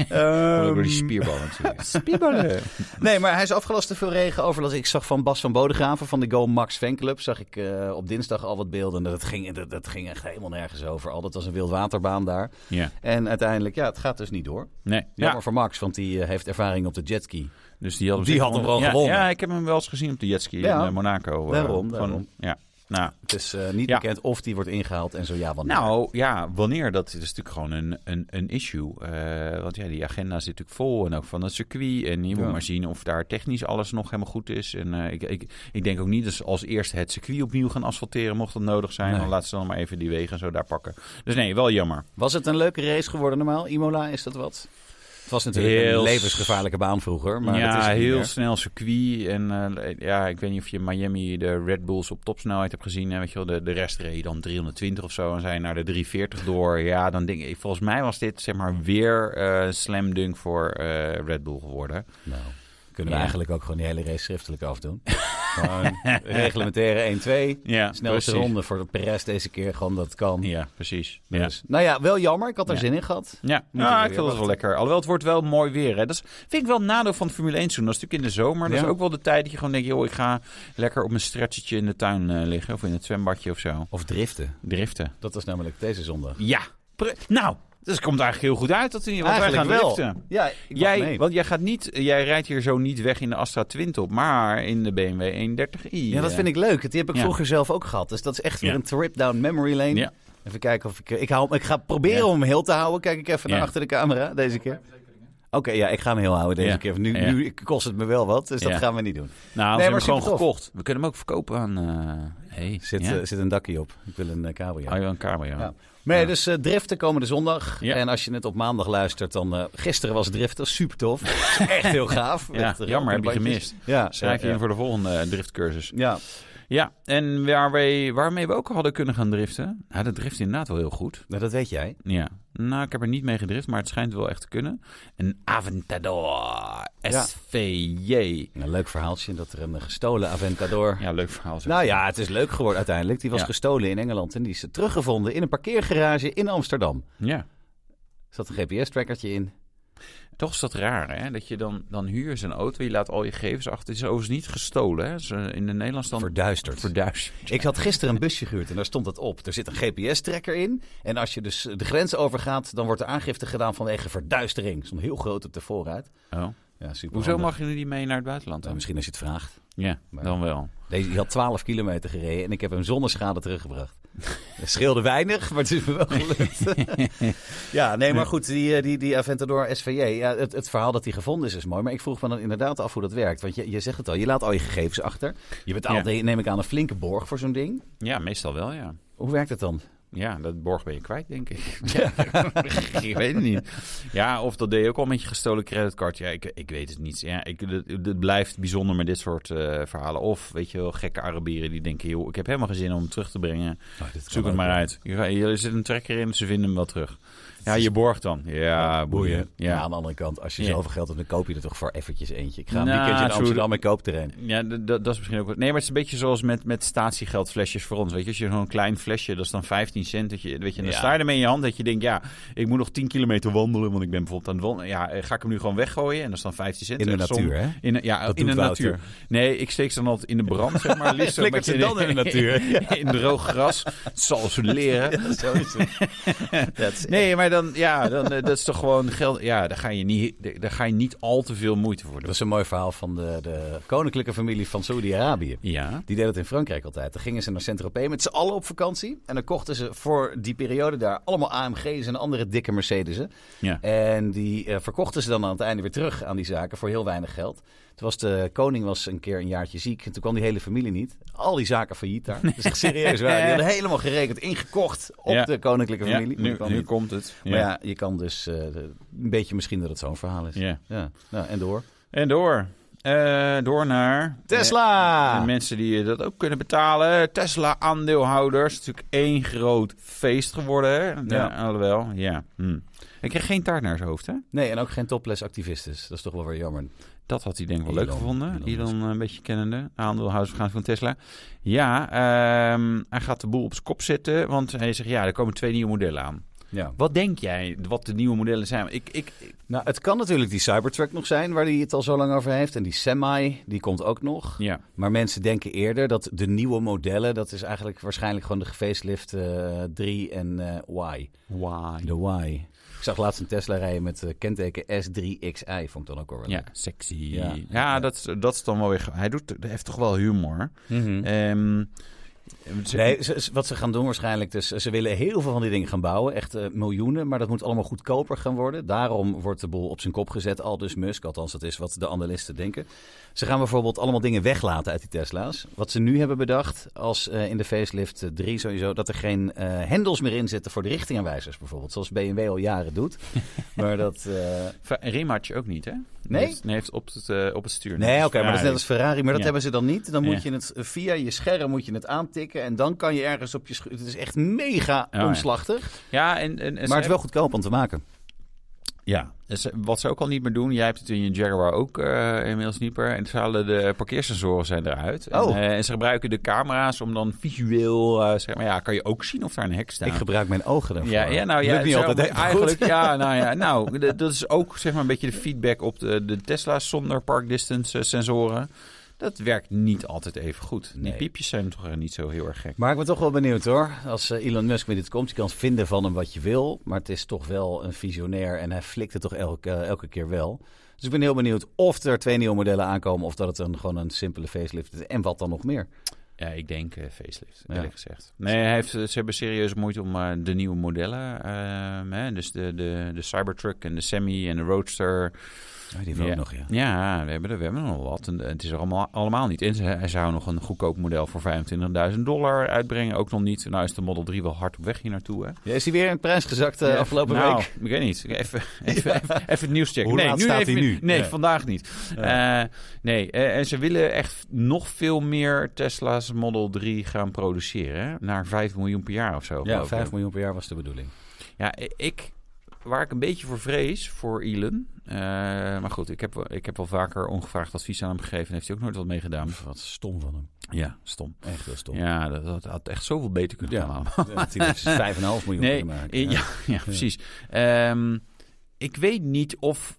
B: Ehm,
A: Ja. Door die spierballen natuurlijk. Ehm, Spierballen.
B: Nee, maar hij is afgelast door veel regen. Overlast. Ik zag van Bas van Bodegraven van de Go Max fanclub. Zag ik eh, op dinsdag al wat beelden. Dat ging, dat, dat ging echt helemaal nergens over. Al dat was een wildwaterbaan daar.
A: Ja,
B: En uiteindelijk, ja, het gaat dus niet door.
A: nee.
B: Jammer
A: Ja,
B: voor Max, want die eh, heeft ervaring op de jetski.
A: dus die hadden
B: Die
A: zich
B: had hem gewoon
A: ja,
B: gewonnen.
A: Ja, ik heb hem wel eens gezien op de jetski
B: Ja.
A: in eh, Monaco. eh,
B: Daarom,
A: van-
B: daarom.
A: ja, nou...
B: Het is eh, niet
A: Ja.
B: bekend of die wordt ingehaald en zo ja, want
A: Nou ja, wanneer, dat is natuurlijk gewoon een, een, een issue. Eh, want ja, die agenda zit natuurlijk vol en ook van het circuit. En je moet
B: Ja.
A: maar zien of daar technisch alles nog helemaal goed is. En eh, ik, ik, ik denk ook niet dat ze als eerste het circuit opnieuw gaan asfalteren, mocht dat nodig zijn.
B: Nee.
A: Dan laten ze dan maar even die wegen zo daar pakken. Dus nee, wel jammer.
B: Was het een leuke race geworden normaal? Imola, is dat wat? Het was natuurlijk
A: Heel
B: een levensgevaarlijke baan vroeger. Maar dat
A: ja,
B: is het niet
A: heel
B: meer.
A: snel circuit. En eh, ja, ik weet niet of je in Miami de Red Bulls op topsnelheid hebt gezien. Hè, weet je wel, de, de rest reed dan 320 of zo en zijn naar de 340 door. Ja, dan denk ik, volgens mij was dit zeg maar weer eh slam dunk voor eh, Red Bull geworden.
B: Nou, kunnen
A: Ja.
B: we eigenlijk ook gewoon die hele race schriftelijk afdoen. gewoon reglementaire 1-2.
A: Ja,
B: Snelste ronde voor de Perez deze keer, gewoon dat kan.
A: Ja, precies. Ja.
B: Dus, nou ja, wel jammer. Ik had er
A: Ja.
B: zin in gehad.
A: Ja,
B: Moet
A: Ah,
B: je weer
A: ik vind dat wel
B: wachten.
A: lekker. Alhoewel, het wordt wel mooi weer. Hè. Dat is, vind ik wel een nadeel van het Formule 1 seizoen. Dat is natuurlijk in de zomer. Dat
B: Ja.
A: is ook wel de tijd dat je gewoon denkt... joh, ik ga lekker op mijn stretchertje in de tuin eh, liggen... of in het zwembadje of zo.
B: Of driften.
A: Driften.
B: Dat was namelijk deze zondag.
A: Ja. Pre- nou, dus het komt eigenlijk heel goed uit dat we want wij gaan
B: Eigenlijk wel.
A: driften.
B: Ja, ik mag
A: Jij,
B: mee.
A: want jij, gaat niet, jij rijdt hier zo niet weg in de Astra 20 op, maar in de BMW 130i.
B: Ja, dat vind ik leuk. Die heb ik
A: Ja.
B: vroeger zelf ook gehad. Dus dat is echt weer
A: Ja.
B: een trip down memory lane.
A: Ja.
B: Even kijken of ik... eh, Ik, hou, ik ga proberen
A: Ja.
B: om hem heel te houden. Kijk ik even
A: Ja.
B: naar achter de camera deze keer. Oké, ja, ik ga hem heel houden deze
A: Ja.
B: keer. Nu,
A: Ja.
B: nu kost het me wel wat, dus
A: Ja.
B: dat gaan we niet doen.
A: Nou, we
B: Nee,
A: hebben
B: maar
A: hem gewoon
B: supertof.
A: gekocht. We kunnen hem ook verkopen aan... eh hey,
B: Zit,
A: ja?
B: eh, zit een dakje op. Ik wil een eh, cabrio.
A: Oh, ja, een cabrio.
B: Ja. Nee, dus eh, driften komende zondag.
A: Ja.
B: En als je het op maandag luistert, dan... eh, gisteren was driften super tof. echt heel gaaf.
A: Ja,
B: Met, eh,
A: jammer, heb je
B: bandjes.
A: gemist.
B: Ja,
A: Schrijf je
B: ja,
A: in voor de volgende eh, driftcursus.
B: Ja,
A: Ja, en waarmee, waarmee we ook hadden kunnen gaan driften. Nou, dat drift inderdaad wel heel goed.
B: nou, dat weet jij.
A: Ja, nou, ik heb er niet mee gedrift, maar het schijnt wel echt te kunnen. Een Aventador SVJ.
B: Een leuk verhaaltje dat er een eh, gestolen Aventador...
A: Ja, leuk verhaal. Zeg.
B: Nou ja, het is leuk geworden uiteindelijk. Die was
A: Ja.
B: gestolen in Engeland en die is teruggevonden in een parkeergarage in Amsterdam.
A: Ja.
B: Er zat een GPS-trackertje in.
A: Toch is dat raar, hè? Dat je dan, dan huur je zo'n auto, je laat al je gegevens achter. Het is overigens niet gestolen, hè? Ze- in de Nederlands dan
B: Verduisterd.
A: verduisterd.
B: Ik had gisteren een busje gehuurd en daar stond dat op. Er zit een GPS-tracker in. En als je dus de grens overgaat, dan wordt er aangifte gedaan vanwege verduistering. Stond heel groot op de voorruit.
A: Oh.
B: Ja, super.
A: Hoezo
B: handig.
A: mag je nu niet mee naar het buitenland? Dan?
B: Nou, misschien als je het vraagt.
A: Ja, dan wel.
B: Deze die had 12 kilometer gereden en ik heb hem zonder schade teruggebracht. Het scheelde weinig, maar het is me wel gelukt. ja, nee, maar goed, die, eh, die, die Aventador SVJ, ja, het, het verhaal dat hij gevonden is is mooi. Maar ik vroeg me dan inderdaad af hoe dat werkt. Want je, je zegt het al, je laat al je gegevens achter. Je betaalt, eh, neem ik aan, een flinke borg voor zo'n ding.
A: Ja, meestal wel, ja.
B: Hoe werkt het
A: Nou,
B: dan?
A: Ja, dat borg ben je kwijt, denk ik. ik weet het niet. Ja, of dat deed je ook al met je gestolen creditcard. Ja, ik, ik weet het niet. Ja, ik, het, het blijft bijzonder met dit soort eh, verhalen. Of, weet je wel, gekke Arabieren die denken... joh, ik heb helemaal geen zin om hem terug te brengen. Zoek het maar uit. Je, je zit een trekker in, ze vinden hem wel terug. Ja, je borgt dan. Ja, boeien.
B: Ja.
A: Ja,
B: aan de andere kant, als je
A: Ja.
B: zoveel geld hebt, dan koop je er toch voor eventjes eentje. Ik ga een
A: Nou,
B: weekendje in
A: true.
B: Amsterdam en koop er een.
A: ja d- d- dat is misschien ook wat. Nee, maar het is een beetje zoals met, met statiegeldflesjes voor ons. Weet je, als je zo'n klein flesje, dat is dan 15 cent. Dat je, weet je, en dan
B: Ja.
A: sta je ermee in je hand dat je denkt, ja, ik moet nog 10 kilometer wandelen, want ik ben bijvoorbeeld aan het wandelen. Ja, eh, ga ik hem nu gewoon weggooien? En dat is dan 15 cent.
B: In de
A: Eh, som-
B: natuur, hè?
A: In, de- ja,
B: Dat
A: in de
B: doet Wouter.
A: natuur. Nee, ik steek ze dan altijd in de brand, zeg maar. Liefst een
B: Flikkert ze
A: beetje
B: dan in de natuur.
A: in droog gras. Het zal ze leren.
B: Zo is het. Dat is
A: Nee, maar dan, ja, dan, eh, dat is toch gewoon geld. Ja, daar ga, je niet, daar ga je niet al te veel moeite voor
B: Dat
A: doen.
B: is een mooi verhaal van de, de koninklijke familie van Saudi-Arabië.
A: Ja.
B: Die deed dat in Frankrijk altijd. Dan gingen ze naar Saint-Tropez met z'n allen op vakantie. En dan kochten ze voor die periode daar allemaal AMG's en andere dikke Mercedes'en.
A: ja.
B: En die eh, verkochten ze dan aan het einde weer terug aan die zaken voor heel weinig geld. Toen was de koning was een keer een jaartje ziek. En toen kwam die hele familie niet. Al die zaken failliet daar. Dus echt serieus waar. Die hadden helemaal gerekend, ingekocht op
A: Ja.
B: de koninklijke
A: Ja,
B: familie. Maar
A: nu,
B: die kwam
A: nu
B: niet.
A: komt het.
B: Maar ja, je kan dus eh, een beetje misschien dat het zo'n verhaal is.
A: Ja.
B: Ja. Nou, en door.
A: En door. Eh, door naar...
B: Tesla!
A: En mensen die eh, dat ook kunnen betalen. Tesla-aandeelhouders. Natuurlijk één groot feest geworden. Hè? Ja. alhoewel, ja. Hm. Hij kreeg geen taart naar zijn hoofd, hè?
B: Nee, en ook geen topless activistes. Dat is toch wel weer jammer.
A: Dat had hij denk ik wel
B: Elon,
A: leuk gevonden.
B: Elon
A: Elon, eh, een beetje kennende. Aandeelhoudersvergadering van Tesla. Ja, ehm, hij gaat de boel op zijn kop zetten. Want hij zegt, ja, er komen twee nieuwe modellen aan.
B: Ja.
A: Wat denk jij wat de nieuwe modellen zijn? Ik, ik, ik-
B: Nou, het kan natuurlijk die Cybertruck nog zijn, waar hij het al zo lang over heeft. En die Semi, die komt ook nog.
A: ja.
B: Maar mensen denken eerder dat de nieuwe modellen, dat is eigenlijk waarschijnlijk gewoon de gefacelift eh 3 en eh, Y.
A: Why?
B: De Y. Ik zag laatst een Tesla rijden met eh, kenteken S3XI, vond ik dan ook wel.
A: Ja, sexy. Ja,
B: Ja.
A: Dat, is- dat is dan wel weer... ge- Hij, doet, hij heeft toch wel humor.
B: Mhm.
A: Ehm, ze-
B: Hm. Nee, ze- ze- wat ze gaan doen waarschijnlijk, dus ze willen heel veel van die dingen gaan bouwen, echt eh, miljoenen, maar dat moet allemaal goedkoper gaan worden. Daarom wordt de boel op zijn kop gezet, al dus Musk, althans dat is wat de analisten denken. Ze gaan bijvoorbeeld allemaal dingen weglaten uit die Tesla's. Wat ze nu hebben bedacht, als eh, in de facelift eh, 3 sowieso, dat er geen eh, hendels meer in zitten voor de richtingaanwijzers bijvoorbeeld, zoals BMW al jaren doet. maar dat... eh,
A: Ver- Rematch ook niet, hè?
B: Nee?
A: Heeft, nee, heeft op het, eh, op het stuur.
B: Nee, oké, maar dat is net als Ferrari. Maar dat
A: Ja.
B: hebben ze dan niet. Dan
A: Ja.
B: moet je het eh, via je scherm moet je het aantikken. En dan kan je ergens op je... schu- Het is echt mega
A: ja.
B: omslachtig.
A: Ja, en, en, en
B: Maar het
A: ze-
B: is wel goedkoop om te maken.
A: Ja, en ze- wat ze ook al niet meer doen. Jij hebt het in je Jaguar ook eh, inmiddels niet meer. En ze halen de parkeersensoren zijn eruit.
B: Oh.
A: En, eh, en ze gebruiken de camera's om dan visueel... eh, zeg maar, ja, kan je ook zien of daar een hek staat.
B: Ik gebruik mijn ogen daarvoor.
A: ja, ja, nou ja,
B: Lukt niet
A: zo-
B: altijd even goed.
A: eigenlijk. Ja, nou ja, nou, d- dat is ook zeg maar een beetje de feedback op de, de Tesla's zonder park distance eh, sensoren. Dat werkt niet altijd even goed. Die
B: Nee.
A: piepjes zijn toch eh, niet zo heel erg gek.
B: Maar ik ben toch wel benieuwd hoor. Als eh, Elon Musk met dit komt, je kan vinden van hem wat je wil. Maar het is toch wel een visionair en hij flikt het toch elke, elke keer wel. Dus ik ben heel benieuwd of er twee nieuwe modellen aankomen. Of dat het een, gewoon een simpele facelift is. En wat dan nog meer.
A: Ja, ik denk eh, facelift,
B: Ja.
A: eerlijk gezegd. Nee, hij heeft, ze hebben serieus moeite om eh, de nieuwe modellen. ehm, hè, dus de, de, de Cybertruck en de Semi en de Roadster.
B: die
A: wil ik nog,
B: ja.
A: Ja, we hebben er, we hebben er nog wat. En het is er allemaal, allemaal niet. En ze- hij zou nog een goedkoop model voor 25.000 dollar uitbrengen. Ook nog niet. Nou is de Model 3 wel hard op weg hier naartoe, hè?
B: Is hij weer in prijs gezakt eh,
A: Ja,
B: afgelopen
A: nou,
B: week?
A: Ik weet niet. Even, even, even, even het nieuws checken.
B: Hoe
A: nee,
B: laat
A: nu
B: staat
A: even,
B: hij nu?
A: Nee,
B: Ja.
A: vandaag niet. Eh, nee, eh, en ze willen echt nog veel meer Tesla's Model 3 gaan produceren. hè? Naar 5 miljoen per jaar of zo. geloof
B: Ja,
A: ik.
B: 5 miljoen per jaar was de bedoeling.
A: Ja, ik... Waar ik een beetje voor vrees, voor Elon. eh, maar goed, ik heb, wel- ik heb wel vaker ongevraagd advies aan hem gegeven. En heeft hij ook nooit wat meegedaan.
B: Wat stom van hem.
A: Ja, stom.
B: Echt wel stom.
A: Ja, dat, dat had echt zoveel beter kunnen
B: Ja.
A: gaan.
B: Dat hij dus 5,5 miljoen
A: Nee,
B: kunnen maken.
A: eh, ja, ja, precies. Ehm, ik weet niet of,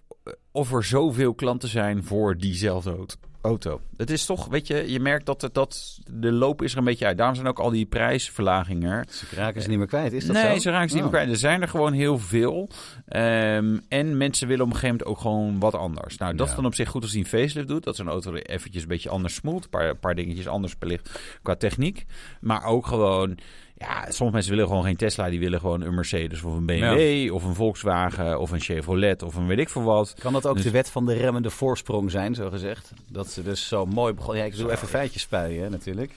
A: of er zoveel klanten zijn voor diezelfde auto- auto. Het is toch, weet je, je merkt dat, het, dat de loop is er een beetje uit. Daarom zijn ook al die prijsverlagingen er.
B: Ze raken ze niet meer kwijt, is dat zo?
A: Nee, ze raken ze niet meer
B: Oh.
A: kwijt. Er zijn er gewoon heel veel. Ehm, en mensen willen op een gegeven moment ook gewoon wat anders. Nou, dat is
B: Ja.
A: dan op zich goed als hij een facelift doet. Dat zijn auto er eventjes een beetje anders smoelt. Een paar, een paar dingetjes anders belicht qua techniek. Maar ook gewoon... Ja, sommige mensen willen gewoon geen Tesla. Die willen gewoon een Mercedes of een BMW of een Volkswagen of een Chevrolet of een weet ik veel wat.
B: Kan dat ook
A: Dus-
B: de wet van de remmende voorsprong zijn, zo gezegd? Dat ze dus zo mooi begonnen. Ja, ik doe even feitjes spuien, hè, natuurlijk.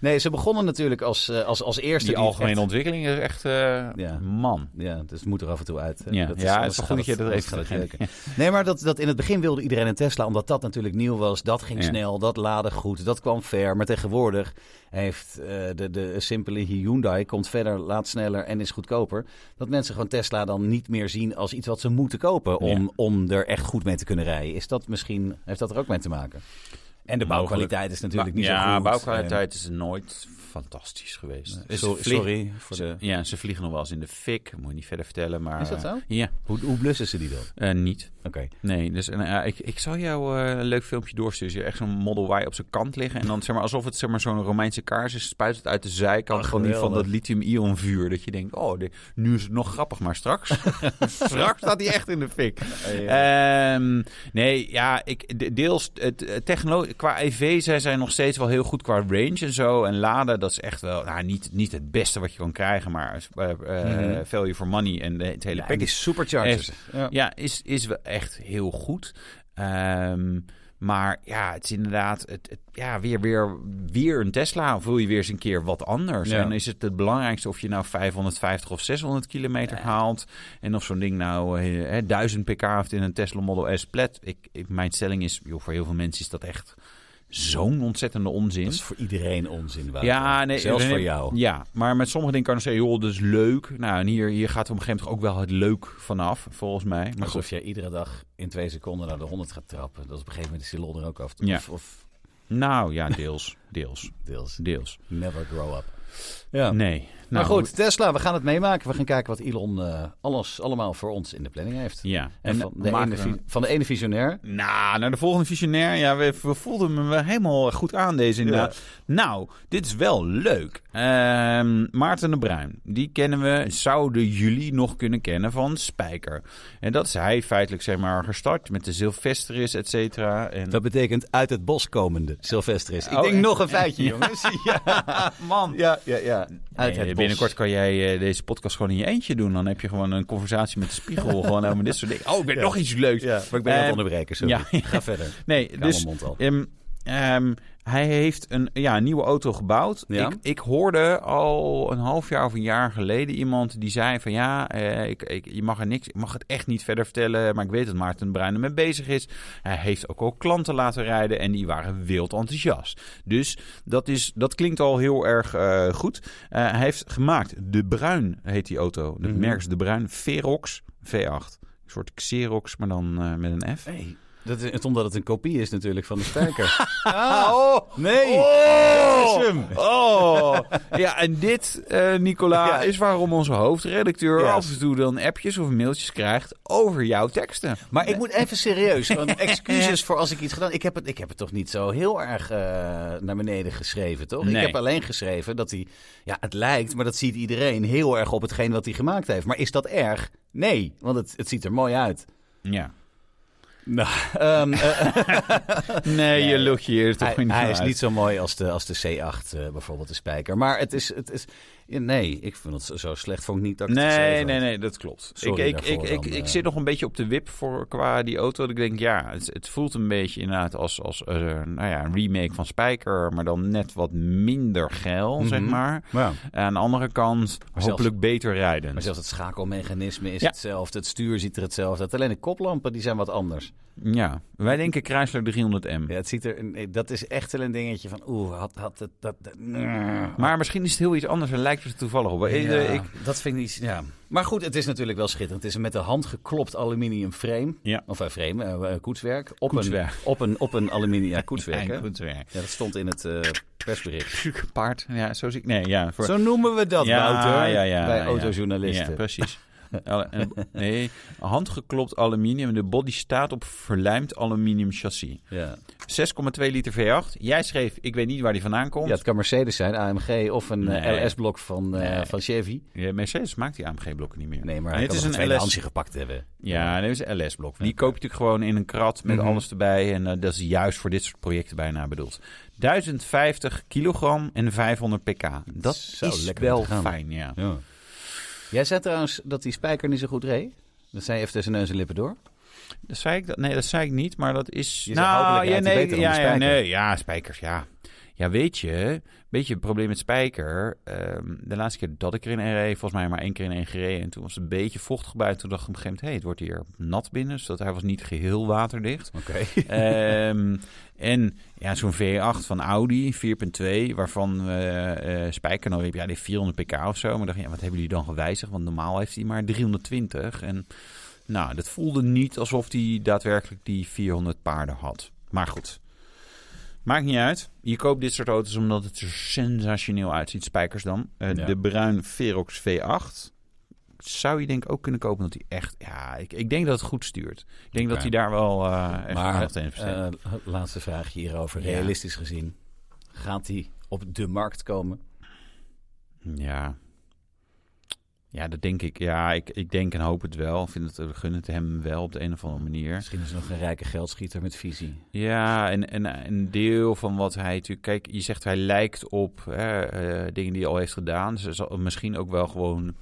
B: Nee, ze begonnen natuurlijk als, eh, als, als eerste.
A: Die algemene
B: echt-
A: ontwikkeling is echt... eh,
B: Ja.
A: Man.
B: Ja, dus het moet er af en toe uit. hè.
A: Ja, ja,
B: anders
A: het is wel
B: gaat
A: goed dat je dat
B: anders
A: even
B: gaat
A: terug-
B: jeuken. Nee, maar dat, dat in het begin wilde iedereen een Tesla, omdat dat natuurlijk nieuw was. Dat ging
A: Ja.
B: snel, dat laadde goed, dat kwam ver. Maar tegenwoordig heeft eh, de, de simpele Hyundai komt verder, laat sneller en is goedkoper. Dat mensen gewoon Tesla dan niet meer zien als iets wat ze moeten kopen om,
A: Ja.
B: om er echt goed mee te kunnen rijden. Is dat misschien, heeft dat er ook mee te maken? En de bouwkwaliteit is natuurlijk niet zo
A: Nou, ja,
B: goed.
A: bouwkwaliteit is nooit fantastisch geweest. Ze
B: Eh, sorry,
A: vlieg-
B: sorry voor de...
A: Ja, ze vliegen nog wel eens in de fik. Moet je niet verder vertellen, maar... eh,
B: Is dat zo?
A: Ja,
B: Hoe, hoe blussen ze die dan?
A: eh, niet.
B: Oké.
A: Nee, dus en, eh, ik, ik zal jou eh, een leuk filmpje doorsturen. Echt zo'n Model Y op zijn kant liggen. En dan zeg maar alsof het zeg maar, zo'n Romeinse kaars is. Spuit het uit de zijkant
B: Ach,
A: van, die, van dat
B: geweldig.
A: lithium-ion vuur. Dat je denkt, oh, dit- nu is het nog grappig. Maar straks, straks staat hij echt in de fik. Ehm, nee, ja, ik, de- deels het, het technolo- qua EV zijn zij nog steeds wel heel goed qua range en zo. En laden, dat is echt wel nou, niet, niet het beste wat je kan krijgen. Maar eh, eh,
B: Mhm.
A: value for money en de, het hele
B: Ja,
A: package.
B: en die superchargers. Ja.
A: Ja, is, is wel echt heel goed. Ehm, maar ja, het is inderdaad het, het- ja, weer, weer, weer een Tesla. Of wil je weer eens een keer wat anders?
B: Ja.
A: En is het het belangrijkste of je nou 550 of 600 kilometer haalt? En of zo'n ding nou eh, hè, 1000 pk heeft in een Tesla Model S plat? Ik, ik- mijn stelling is, joh, voor heel veel mensen is dat echt zo'n ontzettende onzin.
B: Dat is voor iedereen onzin. Wouter.
A: Ja, nee,
B: Zelfs
A: nee,
B: voor
A: nee.
B: jou.
A: Ja, maar met sommige dingen kan je zeggen, joh, dat is leuk. Nou, en hier, hier gaat op een gegeven moment ook wel het leuk vanaf, volgens mij. Maar goed.
B: Alsof jij iedere dag in twee seconden naar de 100 gaat trappen. Dat is op een gegeven moment de lol er ook af.
A: Ja.
B: Of, of
A: Nou ja, deels. Deels.
B: deels.
A: Deels.
B: Never grow up. Ja.
A: Nee.
B: Oh. maar
A: Nou,
B: goed, Tesla, we gaan het meemaken. We gaan kijken wat Elon eh, alles allemaal voor ons in de planning heeft.
A: Ja.
B: En van de,
A: maken
B: ene,
A: we-
B: vi- van de ene visionair.
A: Nou, naar de volgende visionair. Ja, we, we voelden hem wel helemaal goed aan, deze inderdaad. Nou, dit is wel leuk. Ehm, Maarten de Bruin, die kennen we, zouden jullie nog kunnen kennen van Spijker. En dat is hij feitelijk, zeg maar, gestart met de Silvesteris, et cetera. En...
B: Dat betekent uit het bos komende, Sylvesteris. Ik
A: Oh,
B: denk
A: en-
B: nog een feitje, jongens. Ja,
A: Ah, man.
B: ja, ja. ja. Uit
A: Nee,
B: het
A: binnenkort
B: bos.
A: kan jij eh, deze podcast gewoon in je eentje doen. Dan heb je gewoon een conversatie met de spiegel. gewoon over dit soort dingen. Oh, ik weet
B: Ja.
A: nog iets leuks.
B: Ja, maar ik ben aan
A: Ehm,
B: het onderbreken, sorry.
A: ja.
B: Ga verder.
A: Nee,
B: Ik hou
A: dus
B: mijn mond al.
A: ehm, ehm, hij heeft een, ja, een nieuwe auto gebouwd.
B: Ja.
A: Ik, ik hoorde al een half jaar of een jaar geleden iemand die zei van ja, eh, ik, ik, je mag er niks, ik mag het echt niet verder vertellen, maar ik weet dat Maarten Bruin ermee bezig is. Hij heeft ook al klanten laten rijden en die waren wild enthousiast. Dus dat, is, dat klinkt al heel erg eh, goed. Eh, hij heeft gemaakt, de Bruin heet die auto, de
B: Mhm.
A: merk is de Bruin, Verox V8. Een soort Xerox, maar dan eh, met een F.
B: Nee, dat is, het- omdat het een kopie is natuurlijk van de sterker. nee!
A: Oh!
B: is hem.
A: Oh! Ja, en dit, eh Nicola,
B: Ja.
A: is waarom onze hoofdredacteur
B: Ja.
A: af en toe dan appjes of mailtjes krijgt over jouw teksten.
B: Maar ik moet even serieus, want excuses voor als ik iets gedaan ik heb. Het, ik heb het toch niet zo heel erg eh, naar beneden geschreven, toch? Ik
A: Nee.
B: heb alleen geschreven dat hij, ja, het lijkt, maar dat ziet iedereen heel erg op hetgeen wat hij gemaakt heeft. Maar is dat erg? Nee, want het, het ziet er mooi uit.
A: Ja.
B: Nou, ehm, eh,
A: Nee, je lucht je hier toch
B: hij,
A: niet
B: hij
A: van
B: is
A: uit.
B: niet zo mooi als de, als de C8 eh, bijvoorbeeld, de spijker. Maar het is, het is, ja, nee, ik vind het zo- zo slecht, vond ik niet dat ik het
A: Nee,
B: geschreven
A: nee,
B: had.
A: nee, dat klopt.
B: Sorry
A: ik, ik,
B: daarvoor
A: ik, ik,
B: dan,
A: ik
B: eh.
A: zit nog een beetje op de wip voor qua die auto. Dat ik denk, ja, het, het voelt een beetje inderdaad als, als eh, nou ja, een remake van Spijker, maar dan net wat minder geil, zeg
B: Mhm.
A: maar.
B: Ja.
A: Aan de andere kant,
B: zelfs-
A: hopelijk beter rijden.
B: Maar zelfs het schakelmechanisme is
A: Ja.
B: hetzelfde. Het stuur ziet er hetzelfde uit. Alleen de koplampen die zijn wat anders.
A: Ja, wij denken Chrysler 300M.
B: Ja, het ziet er, nee, dat is echt wel een dingetje van... Oeh, had, had het... Dat, dat- nee.
A: Maar misschien is het heel iets anders en lijkt het er toevallig op. Eh,
B: Ja,
A: eh, Ik,
B: dat vind ik niet... Ja. Maar goed, het is natuurlijk wel schitterend. Het is een met de hand geklopt aluminium frame.
A: Ja.
B: Of eh, frame, eh, eh, koetswerk. Op
A: Koetswerk.
B: Een, op, een, op een aluminium... Ja, koetswerk, hè?
A: Ja, goed weer.
B: Ja, dat stond in het eh, persbericht.
A: Pjuk, Paard, ja, zo zie ik. Nee, ja. Voor...
B: Zo noemen we dat,
A: ja,
B: Wouter.
A: ja, ja,
B: bij
A: ja.
B: autojournalisten.
A: Ja, precies. Alle- eh, nee, handgeklopt aluminium. De body staat op verlijmd aluminium chassis. 6,2
B: Ja.
A: liter V8. Jij schreef, ik weet niet waar die vandaan komt.
B: Ja, het kan Mercedes zijn, AMG of een eh,
A: Nee.
B: LS-blok van, eh,
A: Nee.
B: van Chevy.
A: Ja, Mercedes maakt die AMG-blokken niet meer.
B: Nee, maar
A: En
B: hij
A: het is
B: kan
A: een
B: een
A: LS.
B: handje gepakt hebben.
A: Ja, dit is een LS-blok. Die koop je natuurlijk gewoon in een krat met
B: Mhm.
A: alles erbij. En eh, dat is juist voor dit soort projecten bijna bedoeld. 1050 kilogram en 500 pk. Dat
B: Zo
A: is
B: lekker
A: wel
B: om te gaan.
A: fijn, ja.
B: Jij zei trouwens dat die spijker niet zo goed reed. Dat zei je even tussen neus en lippen door.
A: Dat zei ik dat? Nee, dat zei ik niet, maar dat is. Nou,
B: Je zegt houdelijk rijdt hij beter dan
A: ja,
B: de
A: ja,
B: spijker.
A: nee, ja, spijkers, ja. Ja, weet je, weet je, het probleem met spijker. ehm, de laatste keer dat ik erin reed, volgens mij maar één keer in één gereden. En toen was het een beetje vochtig buiten. Toen dacht ik op een gegeven moment, hé, het wordt hier nat binnen. Zodat hij was niet geheel waterdicht.
B: Oké.
A: Ehm, en ja, zo'n V8 van Audi 4.2, waarvan eh eh Spijker nou weer, ja, die heeft 400 pk of zo. Maar dacht, ik, ja, wat hebben jullie dan gewijzigd? Want normaal heeft hij maar 320. En nou, dat voelde niet alsof hij daadwerkelijk die 400 paarden had. Maar goed. Maakt niet uit. Je koopt dit soort auto's omdat het er sensationeel uitziet. Spijkers dan. Eh,
B: Ja.
A: De bruin Verox V8. Zou je denk ik ook kunnen kopen dat hij echt... Ja, ik, ik denk dat het goed stuurt. Ik denk dat
B: Oké.
A: hij daar wel eh echt
B: Maar,
A: aandacht in investeert.
B: eh, laatste vraagje hierover.
A: Ja.
B: Realistisch gezien, gaat die op de markt komen?
A: Eh, Ja. Ja, dat denk ik. Ja, ik, ik denk en hoop het wel. Ik Vind het, we gunnen het hem wel op de een of andere manier.
B: Misschien is er nog een rijke geldschieter met visie.
A: Ja, en, en een deel van wat hij natuurlijk... Kijk, je zegt hij lijkt op hè, eh, dingen die hij al heeft gedaan. Ze zal misschien ook wel gewoon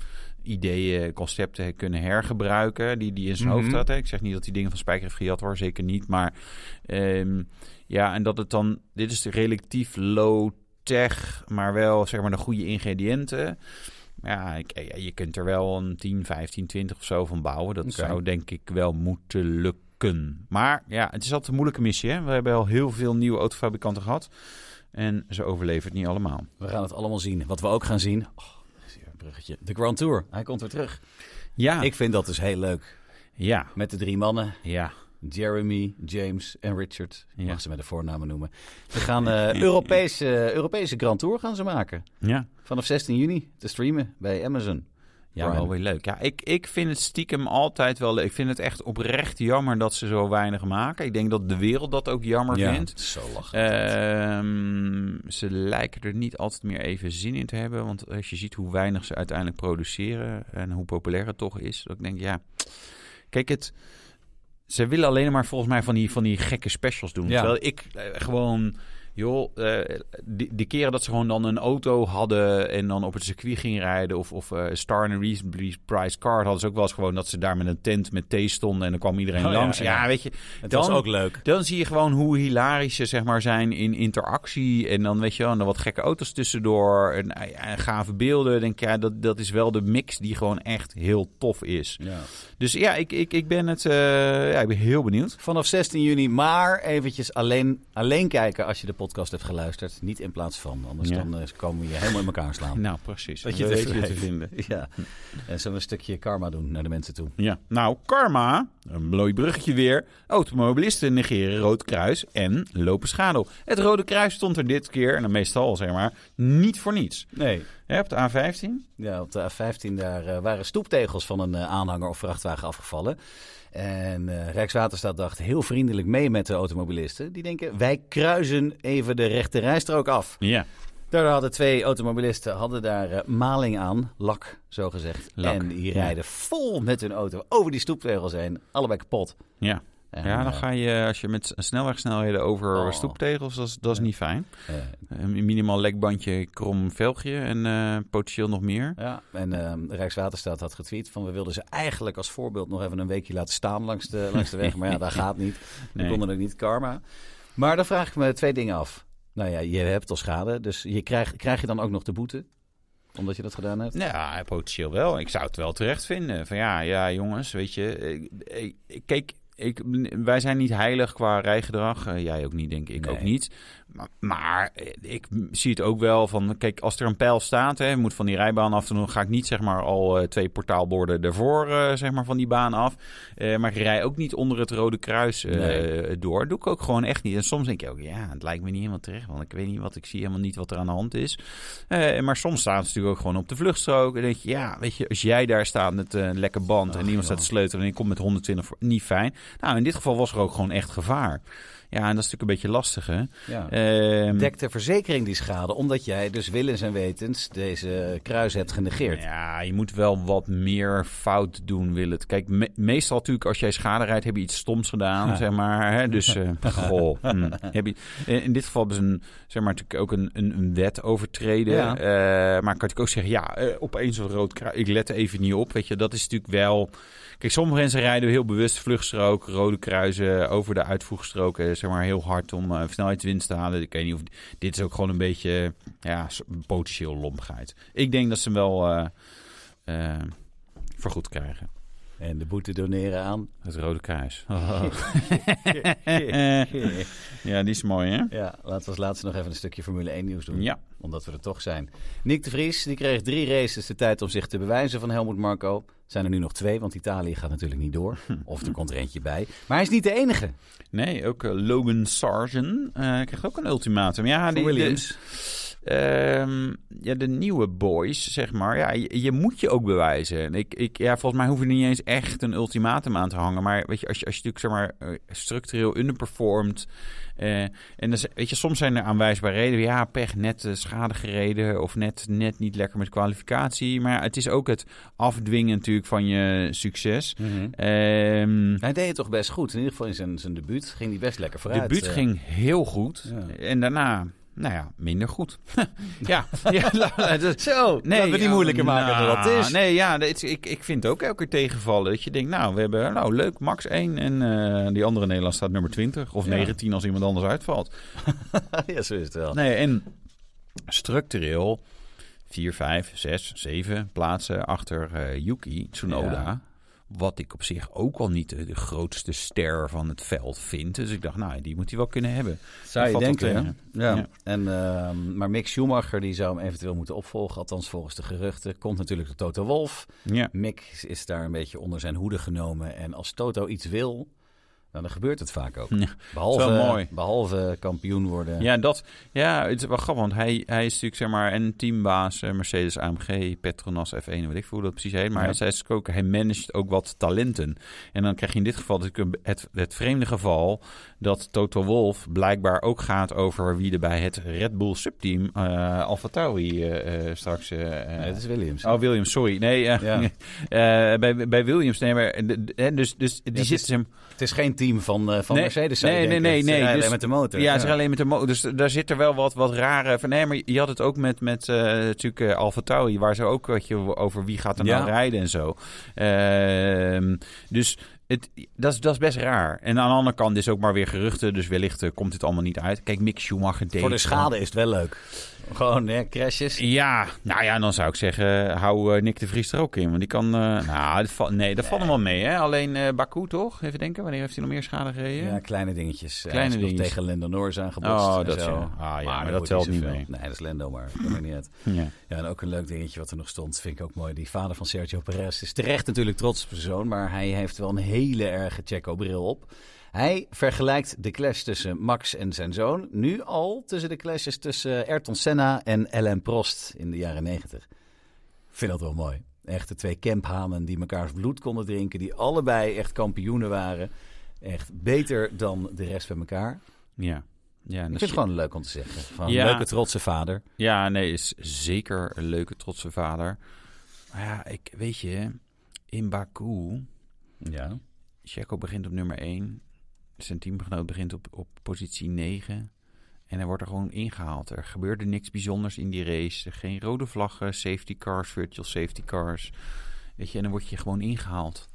A: ideeën, concepten kunnen hergebruiken... die die in zijn
B: Mhm.
A: hoofd had. Hè. Ik zeg niet dat hij dingen van Spijker heeft gejat, hoor. Zeker niet. Maar ehm, ja, en dat het dan... Dit is relatief low-tech, maar wel zeg maar de goede ingrediënten... Ja, ik- eh, je kunt er wel een 10, 15, 20 of zo van bouwen. Dat
B: Oké.
A: zou denk ik wel moeten lukken. Maar ja, het is altijd een moeilijke missie. Hè? We hebben al heel veel nieuwe autofabrikanten gehad. En ze overleven het niet allemaal.
B: We gaan het allemaal zien. Wat we ook gaan zien... Oh, dat is weer een bruggetje. De Grand Tour. Hij komt weer terug.
A: Ja,
B: Ik vind dat dus heel leuk.
A: ja,
B: Met de drie mannen.
A: ja.
B: Jeremy, James en Richard. Je
A: Ja.
B: mag ze met de voornamen noemen. Ze gaan eh, Europese, Europese Grand Tour gaan ze maken.
A: Ja,
B: Vanaf 16 juni te streamen bij Amazon.
A: ja
B: Prime.
A: wel weer leuk. Ja, ik, ik vind het stiekem altijd wel leuk. Ik vind het echt oprecht jammer dat ze zo weinig maken. Ik denk dat de wereld dat ook jammer vindt.
B: zo lachen.
A: Ehm, ze lijken er niet altijd meer even zin in te hebben. Want als je ziet hoe weinig ze uiteindelijk produceren en hoe populair het toch is. Dat ik denk, ja, kijk het. Ze willen alleen maar volgens mij van die, van die gekke specials doen.
B: Ja.
A: Terwijl ik eh, gewoon, joh, eh die, die keren dat ze gewoon dan een auto hadden en dan op het circuit gingen rijden. Of, of eh, Star and Reasonably Price Card hadden ze ook wel eens gewoon dat ze daar met een tent met thee stonden en dan kwam iedereen
B: Oh ja,
A: langs.
B: ja.
A: ja, weet je,
B: het
A: dan-
B: was ook leuk.
A: dan zie je gewoon hoe hilarisch ze zeg maar, zijn in interactie. En dan weet je wel, en dan wat gekke auto's tussendoor. En, eh, ja, en gave beelden. Denk ik, ja, dat, dat is wel de mix die gewoon echt heel tof is.
B: Ja.
A: Dus ja, ik, ik, ik ben het eh, ja, ik ben heel benieuwd.
B: Vanaf 16 juni, maar eventjes alleen, alleen kijken als je de podcast hebt geluisterd. Niet in plaats van, anders
A: Ja.
B: dan eh, komen we je helemaal in elkaar slaan.
A: Nou, precies.
B: Dat je
A: We
B: het
A: weten
B: even
A: je
B: weet.
A: vinden.
B: Ja, en zullen we een stukje karma doen naar de mensen toe.
A: Ja, nou, karma, een mooi bruggetje weer. Automobilisten negeren Rood Kruis en lopen schade. Het Rode Kruis stond er dit keer, en dan meestal zeg maar, niet voor niets.
B: Nee.
A: Hè, op de A15?
B: Ja, op de A15 daar eh, waren stoeptegels van een eh, aanhanger of vrachtwagen afgevallen. En eh, Rijkswaterstaat dacht heel vriendelijk mee met de automobilisten. Die denken, wij kruisen even de rechte rijstrook af.
A: Ja.
B: Daardoor hadden twee automobilisten hadden daar eh, maling aan, lak zo gezegd.
A: Lak,
B: En die
A: ja.
B: rijden vol met hun auto over die stoeptegels heen, allebei kapot.
A: Ja.
B: En,
A: Ja, dan
B: eh,
A: ga je, als je met s- snelwegsnelheden over
B: Oh.
A: stoeptegels, dat is, dat is niet fijn.
B: eh,
A: Een minimaal lekbandje, krom velgje en eh, potentieel nog meer.
B: ja, en eh, Rijkswaterstaat had getweet van we wilden ze eigenlijk als voorbeeld nog even een weekje laten staan langs de, langs de weg. Maar ja, dat gaat niet.
A: Nee.
B: We konden ook niet karma. Maar dan vraag ik me twee dingen af. Nou ja, je hebt al schade, dus je krijgt, krijg je dan ook nog de boete? Omdat je dat gedaan hebt?
A: Ja, potentieel wel. Ik zou het wel terecht vinden. Van ja, ja jongens, weet je. eh, eh, Kijk, ik, wij zijn niet heilig qua rijgedrag. Eh, jij ook niet, denk ik
B: Nee.
A: ook niet. Maar, maar, eh, ik m- zie het ook wel van... Kijk, als er een pijl staat, hè, je moet van die rijbaan af... dan ga ik niet zeg maar al eh, twee portaalborden ervoor eh, zeg maar, van die baan af. Eh, maar ik rij ook niet onder het Rode Kruis eh,
B: Nee.
A: door. Dat doe ik ook gewoon echt niet. En soms denk ik ook, ja, het lijkt me niet helemaal terecht... want ik weet niet wat ik zie, helemaal niet wat er aan de hand is. Eh, maar soms staan ze natuurlijk ook gewoon op de vluchtstrook. En denk je, ja, weet je, als jij daar staat met eh, een lekker band en iemand staat te sleutelen en je komt met 120, voor- niet fijn. Nou, in dit geval was er ook gewoon echt gevaar. Ja, en dat is natuurlijk een beetje lastig, hè?
B: Ja.
A: Ehm,
B: Dekt de verzekering die schade, omdat jij dus willens en wetens deze kruis hebt genegeerd?
A: ja, je moet wel wat meer fout doen, wil het. Kijk, me- meestal natuurlijk als jij schade rijdt, heb je iets stoms gedaan, zeg maar. Hè? Dus, eh, goh. hm. Heb je, in in dit geval hebben ze een, zeg maar, natuurlijk ook een, een, een wet overtreden.
B: Ja.
A: Eh, maar ik kan natuurlijk ook zeggen, ja, eh, opeens een rood kruis. Ik let er even niet op, weet je. Dat is natuurlijk wel... Kijk, sommige mensen rijden heel bewust vluchtstrook, rode kruisen over de uitvoegstroken, zeg maar heel hard om eh, snelheidswinst te halen. Ik weet niet of dit is ook gewoon een beetje ja, so- potentieel lompigheid. Ik denk dat ze hem wel eh, eh, vergoed krijgen.
B: En de boete doneren aan.
A: Het Rode Kruis. ja, die is mooi, hè?
B: Ja, laten we als laatste nog even een stukje Formule 1 nieuws doen.
A: Ja.
B: Omdat we er toch zijn. Nick de Vries die kreeg drie races de tijd om zich te bewijzen van Helmut Marco. Zijn er nu nog twee, want Italië gaat natuurlijk niet door.
A: Hm.
B: Of er komt er eentje bij. Maar hij is niet de enige.
A: Nee, ook eh, Logan Sargent eh, kreeg ook een ultimatum. Ja,
B: Van
A: die,
B: Williams.
A: de- ehm, ja, de nieuwe boys, zeg maar. Ja, je, je moet je ook bewijzen. En Ik, ik, ja, volgens mij hoef je er niet eens echt een ultimatum aan te hangen. Maar weet je, als je, als je natuurlijk zeg maar, eh, structureel underperformt. eh, en dan, z- weet je, soms zijn er aanwijsbare redenen. Ja, pech, net eh, schade gereden. Of net, net niet lekker met kwalificatie. Maar ja, het is ook het afdwingen natuurlijk van je succes. Ehm
B: Hij deed het toch best goed. In ieder geval in zijn, zijn debuut ging hij best lekker
A: De
B: vooruit.
A: buurt
B: Eh,
A: ging heel goed.
B: Ja.
A: En daarna, nou ja, minder goed. ja, ja la- la- dus-
B: Zo, nee, laten we die
A: ja,
B: moeilijker maken dan dat
A: nou,
B: is.
A: Nee, ja, dat is- ik, ik vind het ook elke keer tegenvallen. Dat je denkt, nou, we hebben nou, leuk, max 1. En eh, die andere Nederland staat nummer 20 of
B: Ja.
A: 19 als iemand anders uitvalt.
B: ja, zo is het wel.
A: Nee, en structureel 4, 5, 6, 7 plaatsen achter eh, Yuki Tsunoda.
B: Ja.
A: Wat ik op zich ook al niet de, de grootste ster van het veld vind. Dus ik dacht, nou, die moet hij wel kunnen hebben.
B: Zou je
A: Valt wel
B: denken,
A: tegen.
B: hè? Ja.
A: Ja.
B: En, ehm, maar Mick Schumacher die zou hem eventueel moeten opvolgen. Althans, volgens de geruchten. Komt natuurlijk door Toto Wolf.
A: Ja.
B: Mick is daar een beetje onder zijn hoede genomen. En als Toto iets wil, dan gebeurt het vaak ook.
A: Ja,
B: Behalve,
A: wel mooi.
B: behalve kampioen worden.
A: Ja, dat, ja, het is wel grappig, want hij, hij is natuurlijk zeg maar een teambaas, eh, Mercedes AMG, Petronas F1, weet ik veel hoe dat precies heet. Maar hij,
B: Ja.
A: is natuurlijk ook, hij managt ook wat talenten. En dan krijg je in dit geval natuurlijk een- het, het vreemde geval dat Toto Wolf blijkbaar ook gaat over wie er bij het Red Bull subteam eh Alfa Tauri eh, eh, straks... eh,
B: Nee, het is Williams.
A: Oh, Williams, sorry. Nee, eh,
B: Ja.
A: eh, bij, bij Williams. Nee, maar, eh, de- de- dus, dus die
B: het is-
A: zitten hem
B: Het is geen team van, eh, van
A: Nee,
B: Mercedes. zou je
A: nee, nee,
B: denken.
A: nee,
B: Ze
A: nee,
B: rijden
A: dus-
B: met de motor.
A: Ja, ze zijn alleen met de motor. Dus daar zit er wel wat, wat rare van. Nee, maar je had het ook met, met eh natuurlijk eh, Alfa Tauri, waar ze ook wat je over wie gaat er nou
B: Ja.
A: rijden en zo. Ehm, dus het, dat, is, dat is best raar. En aan de andere kant is ook maar weer geruchten, dus wellicht eh, komt dit allemaal niet uit. Kijk, Mick Schumacher deed
B: Voor de
A: gewoon-
B: schade is het wel leuk. Gewoon hè, crashes.
A: ja, nou ja, dan zou ik zeggen, hou eh, Nick de Vries er ook in. Want die kan... eh, nou, dat valt- nee, dat valt hem wel mee, hè? Alleen eh Baku, toch? Even denken, wanneer heeft hij nog meer schade gereden?
B: Ja, kleine dingetjes. Kleine
A: Kleine
B: Hij is nog
A: dingetjes.
B: tegen Lando Norris aangebotst
A: Oh,
B: en
A: dat
B: zo.
A: ja. Ah, ja, maar dat
B: wordt
A: telt niet
B: zoveel.
A: mee.
B: Nee, dat is Lando, maar dat maakt niet uit.
A: Ja.
B: Ja, en ook een leuk dingetje wat er nog stond, vind ik ook mooi. Die vader van Sergio Perez is terecht natuurlijk trots op zijn zoon, maar hij heeft wel een hele erge Checo-bril op. Hij vergelijkt de clash tussen Max en zijn zoon nu al tussen de clashes tussen Ayrton Senna en Alain Prost in de jaren negentig. Ik vind dat wel mooi. Echt de twee kemphanen die mekaars bloed konden drinken, die allebei echt kampioenen waren. Echt beter dan de rest bij elkaar.
A: Ja. Ja, en
B: Ik
A: dat
B: vind het gewoon leuk om te zeggen. Van
A: Ja.
B: leuke trotse vader.
A: Ja, nee, is zeker een leuke, trotse vader. Maar ja, ik weet je, in Baku,
B: Ja.
A: Checo begint op nummer 1. Zijn teamgenoot begint op, op positie 9. En hij wordt er gewoon ingehaald. Er gebeurde niks bijzonders in die race. Geen rode vlaggen, safety cars, virtual safety cars. Weet je, en dan word je gewoon ingehaald.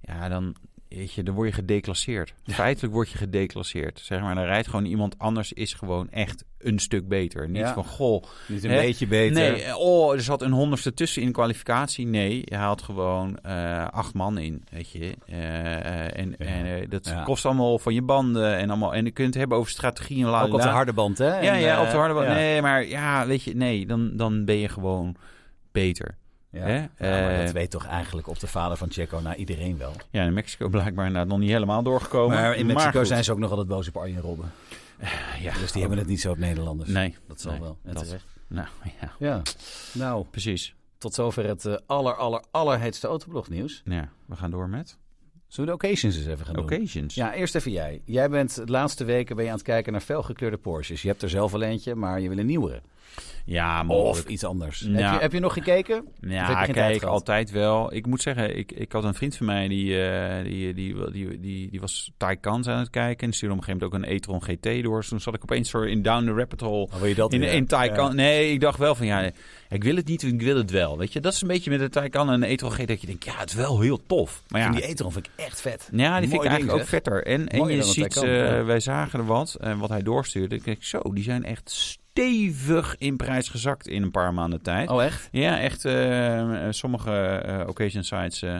A: Ja, dan, weet je, dan word je gedeclasseerd. Feitelijk word je gedeclasseerd. Zeg maar, dan rijdt gewoon iemand anders, is gewoon echt een stuk beter. Niet
B: Ja.
A: van, goh,
B: Niet een
A: Hè?
B: beetje beter.
A: Nee, eh, oh, er zat een honderdste tussen in kwalificatie. Nee, je haalt gewoon eh, acht man in, weet je. Eh, eh, en en eh, dat
B: Ja.
A: kost allemaal van je banden en allemaal. En je kunt het hebben over strategie en la
B: Ook op de
A: la.
B: harde band, hè?
A: Ja,
B: En,
A: ja,
B: eh,
A: op de harde band.
B: ja.
A: Nee, maar ja, weet je, nee, dan, dan ben je gewoon beter.
B: Ja.
A: Hè?
B: Ja, maar
A: Eh,
B: dat weet toch eigenlijk op de vader van Checo nou iedereen wel.
A: Ja, in Mexico blijkbaar inderdaad nog niet helemaal doorgekomen.
B: Maar in Mexico
A: goed. Eh,
B: zijn ze ook nog altijd boos op Arjen Robben.
A: Ja, Oh,
B: Dus die hebben het niet zo op Nederlanders.
A: Nee,
B: Dat zal
A: Nee,
B: wel. En
A: dat-
B: terecht.
A: nou ja,
B: Ja. Nou,
A: precies.
B: tot zover het eh, aller, aller, allerheetste autoblog nieuws.
A: Ja, Nou, we gaan door met
B: Zullen we de occasions eens even gaan doen?
A: occasions.
B: Ja, eerst even jij. Jij bent de laatste weken ben je aan het kijken naar felgekleurde Porsches. Je hebt er zelf al eentje, maar je wil een nieuwere.
A: ja
B: Of
A: mogelijk.
B: iets anders.
A: Nou.
B: Heb, je, heb je nog gekeken? Of heb
A: Ja,
B: je geen tijd
A: kijk,
B: gehad?
A: altijd wel. Ik moet zeggen, ik, ik had een vriend van mij die, eh, die, die, die, die, die was Taycans aan het kijken. En die stuurde op een gegeven moment ook een e-tron GT door. Dus toen zat ik opeens zo in Down the Rabbit Hole.
B: Oh, wil je dat
A: In,
B: weer?
A: in Taycan.
B: Ja.
A: Nee, ik dacht wel van ja, ik wil het niet, ik wil het wel. Weet je, dat is een beetje met de Taycan en de e-tron GT. Dat je denkt, ja, het is wel heel tof. Maar ja,
B: En die Etron vind ik echt vet.
A: ja, die vind
B: Mooi
A: ik
B: ding,
A: eigenlijk ook
B: zeg.
A: vetter. En, en
B: Mooier
A: je
B: dan wat hij
A: ziet,
B: kan,
A: eh,
B: ja.
A: wij zagen er wat en wat hij doorstuurde. Ik denk, zo, die zijn echt stevig in prijs gezakt in een paar maanden tijd.
B: Oh, echt?
A: Ja, echt. eh, Oh. eh, sommige eh, occasion sites. eh,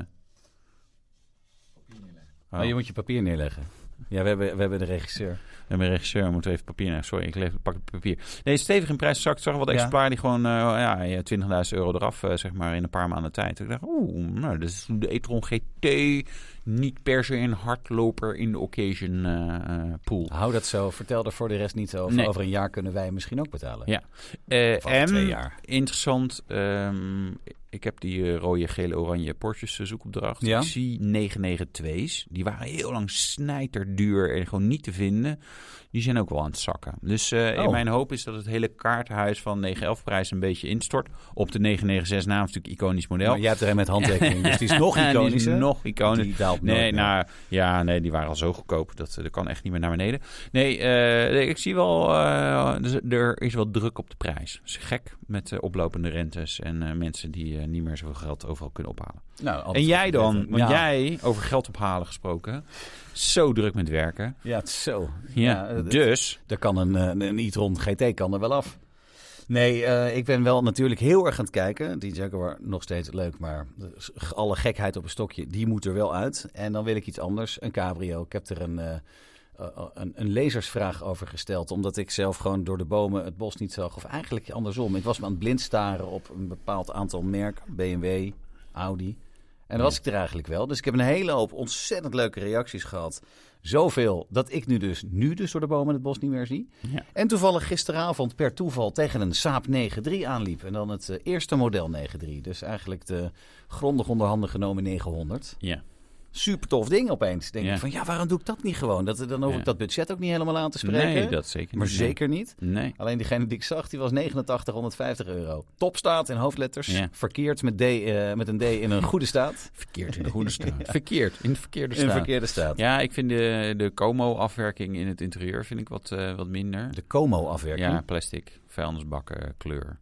B: Maar je moet je papier neerleggen. Ja, we hebben, we hebben de regisseur.
A: En mijn regisseur moet even papier naar. Sorry, ik leg, pak het papier. Nee, stevig in prijs. zak. Ik zag wat
B: Ja.
A: exemplaren die gewoon eh, ja, ja, 20.000 euro eraf, eh, zeg maar, in een paar maanden tijd. Ik dacht, oeh, nou, dat is de e-tron GT. Niet per se een hardloper in de occasion eh, eh, pool.
B: Hou dat zo. Vertel er voor de rest niet over.
A: Nee.
B: Over een jaar kunnen wij hem misschien ook betalen.
A: Ja. Eh,
B: Of over
A: en,
B: twee jaar.
A: interessant, ehm, ik heb die eh, rode, gele, oranje Porsches eh, zoekopdracht.
B: Ja.
A: Ik zie 992's. Die waren heel lang snijterduur en gewoon niet te vinden. Die zijn ook wel aan het zakken. Dus eh,
B: Oh.
A: mijn hoop is dat het hele kaartenhuis van 911-prijs een beetje instort. Op de 996 naam is natuurlijk een iconisch model.
B: Maar jij hebt er een met handtekening, dus die is nog
A: En die is
B: iconischer.
A: nog iconischer.
B: Die daalt nooit
A: Nee,
B: meer.
A: nou, ja, nee, die waren al zo goedkoop. Dat, eh, dat kan echt niet meer naar beneden. Nee, eh, nee, ik zie wel... eh, dus er is wel druk op de prijs. Dat is gek met eh, oplopende rentes en eh, mensen die eh, niet meer zoveel geld overal kunnen ophalen.
B: Nou, altijd
A: en jij
B: goed
A: dan?
B: weten.
A: Want
B: Ja.
A: jij, over geld ophalen gesproken, zo druk met werken.
B: Ja, het is zo.
A: Ja,
B: eh,
A: dus...
B: Daar kan een, eh, een, een e-tron GT kan er wel af. Nee, eh, ik ben wel natuurlijk heel erg aan het kijken. Die Jaguar nog steeds leuk, maar alle gekheid op een stokje, die moet er wel uit. En dan wil ik iets anders, een cabrio. Ik heb er een, eh, eh, een, een lezersvraag over gesteld, omdat ik zelf gewoon door de bomen het bos niet zag. Of eigenlijk andersom. Ik was me aan het blind staren op een bepaald aantal merken, BMW, Audi. En dat was ik er eigenlijk wel. Dus ik heb een hele hoop ontzettend leuke reacties gehad. Zoveel dat ik nu dus, nu dus door de bomen het bos niet meer zie.
A: Ja.
B: En toevallig gisteravond per toeval tegen een Saab 9-3 aanliep. En dan het eh, eerste model 9-3. Dus eigenlijk de grondig onderhanden genomen 900.
A: Ja.
B: Super tof ding opeens. Denk
A: Ja.
B: ik van ja, waarom doe ik dat niet gewoon? Dat, dan hoef
A: Ja.
B: ik dat budget ook niet helemaal aan te spreken.
A: Nee, dat zeker
B: maar
A: niet.
B: zeker niet.
A: Nee.
B: Alleen diegene die ik zag, die was 8950 euro. Top staat in hoofdletters.
A: Ja.
B: Verkeerd met, D, eh, met een D in een goede staat.
A: Verkeerd in de goede straat. Verkeerd, in de verkeerde
B: In een
A: straat.
B: verkeerde staat.
A: Ja, ik vind de, de Como-afwerking in het interieur vind ik wat, eh, wat minder.
B: De Como-afwerking.
A: Ja, plastic, vuilnisbakken, kleur.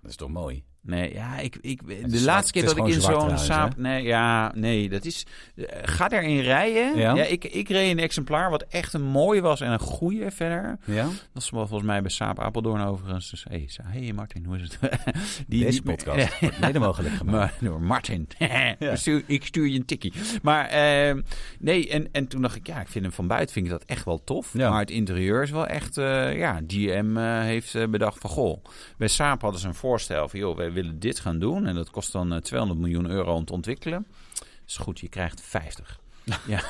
B: Dat is toch mooi?
A: Nee, ja, ik, ik, de
B: is
A: laatste
B: zwart-
A: keer
B: het
A: dat
B: is
A: ik in
B: gewoon zwart
A: zo'n
B: trouwens,
A: saap... Nee, ja, nee, dat is... eh, Ga daarin rijden.
B: Ja?
A: Ja? ik, ik reed een exemplaar wat echt een mooi was en een goeie verder.
B: Ja?
A: Dat is wel volgens mij bij Saap Apeldoorn overigens. Dus, hey, Sa- hey Martin, hoe is het? Die, die-
B: Deze podcast wordt mede mogelijk gemaakt.
A: Maar door Martin. Ik stuur- Ik stuur je een tikkie. Maar ehm, nee, en, en toen dacht ik, ja, ik vind hem van buiten vind ik dat echt wel tof.
B: Ja.
A: Maar het interieur is wel echt, eh, ja, GM eh, heeft eh, bedacht van, goh, bij Saab hadden ze een voorstel van, joh, wij willen dit gaan doen. En dat kost dan eh, 200 miljoen euro om te ontwikkelen. Is goed, je krijgt 50. Ja,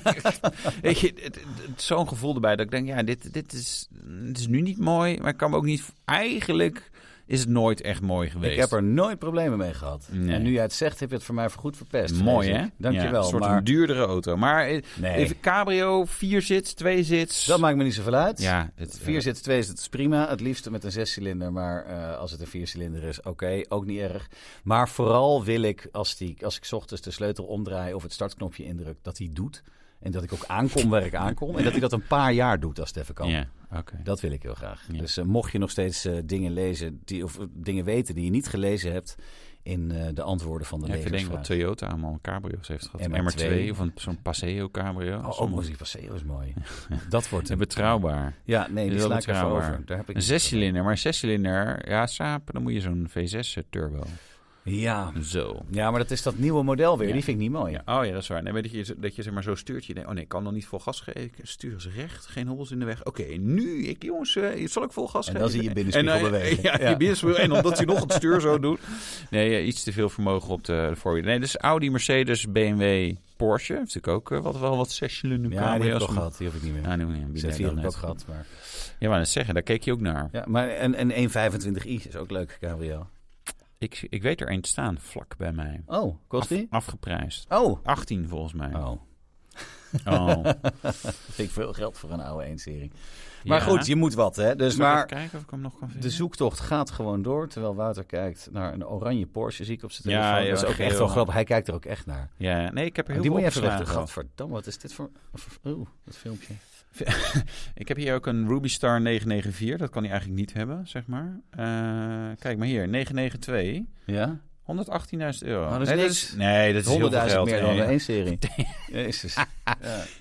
A: Weet je, het- het- het- zo'n gevoel erbij dat ik denk, ja, dit, dit is, het is nu niet mooi, maar ik kan me ook niet... Eigenlijk is het nooit echt mooi geweest.
B: Ik heb er nooit problemen mee gehad.
A: Nee.
B: En nu jij het zegt, heb je het voor mij voorgoed verpest.
A: Mooi,
B: vrees
A: hè?
B: ik. Dankjewel.
A: Ja, een soort
B: maar
A: een duurdere auto. Maar eh,
B: Nee.
A: even cabrio, vier zits, twee zits.
B: dat maakt me niet zoveel uit.
A: ja, het,
B: Vier zit twee zit is prima. Het liefst met een zescilinder. Maar eh, als het een viercilinder is, oké, ook niet erg. Maar vooral wil ik, als, die, als ik 's ochtends de sleutel omdraai of het startknopje indruk, dat hij doet. En dat ik ook aankom waar ik aankom. En dat hij dat een paar jaar doet als het even kan.
A: Ja, oké.
B: Dat wil ik heel graag.
A: Ja.
B: Dus eh, mocht je nog steeds eh, dingen lezen die, of eh, dingen weten die je niet gelezen hebt in eh, de antwoorden van de
A: Ja,
B: ja,
A: even denken wat Toyota allemaal cabrio's heeft gehad. Een
B: MR2.
A: MR2 of een, zo'n Paseo cabrio.
B: Oh, ook
A: Sommige-
B: muziek van Seo is mooi. Dat wordt
A: En
B: hem.
A: betrouwbaar.
B: Ja, nee, die
A: Heel
B: sla ik even
A: betrouwbaar.
B: over. Daar heb ik
A: Een zescilinder, maar een zescilinder, ja, Saab, dan moet je zo'n V6 turbo.
B: Ja.
A: Zo.
B: ja, maar dat is dat nieuwe model weer.
A: Ja.
B: Die vind ik niet mooi.
A: Ja, oh ja, dat is waar. Nee, maar dat je, dat je zeg maar zo stuurt, je denkt, oh nee, ik kan dan niet vol gas geven. Ik stuur eens recht, geen hobbels in de weg. Oké, nu, ik, jongens, eh, zal ik vol gas
B: En
A: geven?
B: dan zie je binnenspiegel
A: En dan-
B: bewegen.
A: Ja,
B: Ja.
A: je binnenspiegel. En omdat hij nog het stuur zo doet. Nee, eh, iets te veel vermogen op de voorwiel. Nee, dus Audi, Mercedes, BMW, Porsche. Heeft natuurlijk ook eh, wat, wel wat zescilinder
B: Ja, die
A: cabrio's.
B: heb ik al gehad. Die heb ik niet meer.
A: Ja, nee, nee,
B: Z4
A: die heb
B: heb
A: ik
B: ik ook
A: net.
B: gehad. Maar...
A: Ja, maar dat zeggen, daar keek je ook naar.
B: Ja, maar en, en 125i is ook leuk, cabrio.
A: Ik, ik weet er één te staan, vlak bij mij.
B: Oh, kost die?
A: Afgeprijsd.
B: Oh.
A: 18 volgens mij.
B: Oh,
A: Oh.
B: vind ik veel geld voor een oude eenserie. Maar
A: Ja.
B: goed, je moet wat, hè. Dus
A: Zal ik even
B: maar
A: kijken of ik hem nog kan vinden.
B: de zoektocht gaat gewoon door. Terwijl Wouter kijkt naar een oranje Porsche, zie ik op zijn
A: Ja,
B: telefoon.
A: ja,
B: dat is ook
A: geel.
B: echt wel grappig. Hij kijkt er ook echt naar.
A: Ja, nee, ik heb er heel
B: die moet
A: veel
B: je even
A: opgeslagen
B: weg.
A: gehad.
B: Gadverdamme, wat is dit voor... voor- Oeh, dat filmpje.
A: Ik heb hier ook een Ruby Star 994. Dat kan hij eigenlijk niet hebben, zeg maar. Eh, kijk maar hier, 992.
B: Ja?
A: 118.000 euro.
B: Maar Nou, dat is
A: nee,
B: niks.
A: nee, dat is heel veel
B: 100.000
A: geld.
B: meer dan
A: Nee.
B: de eenserie. Jezus. Ja,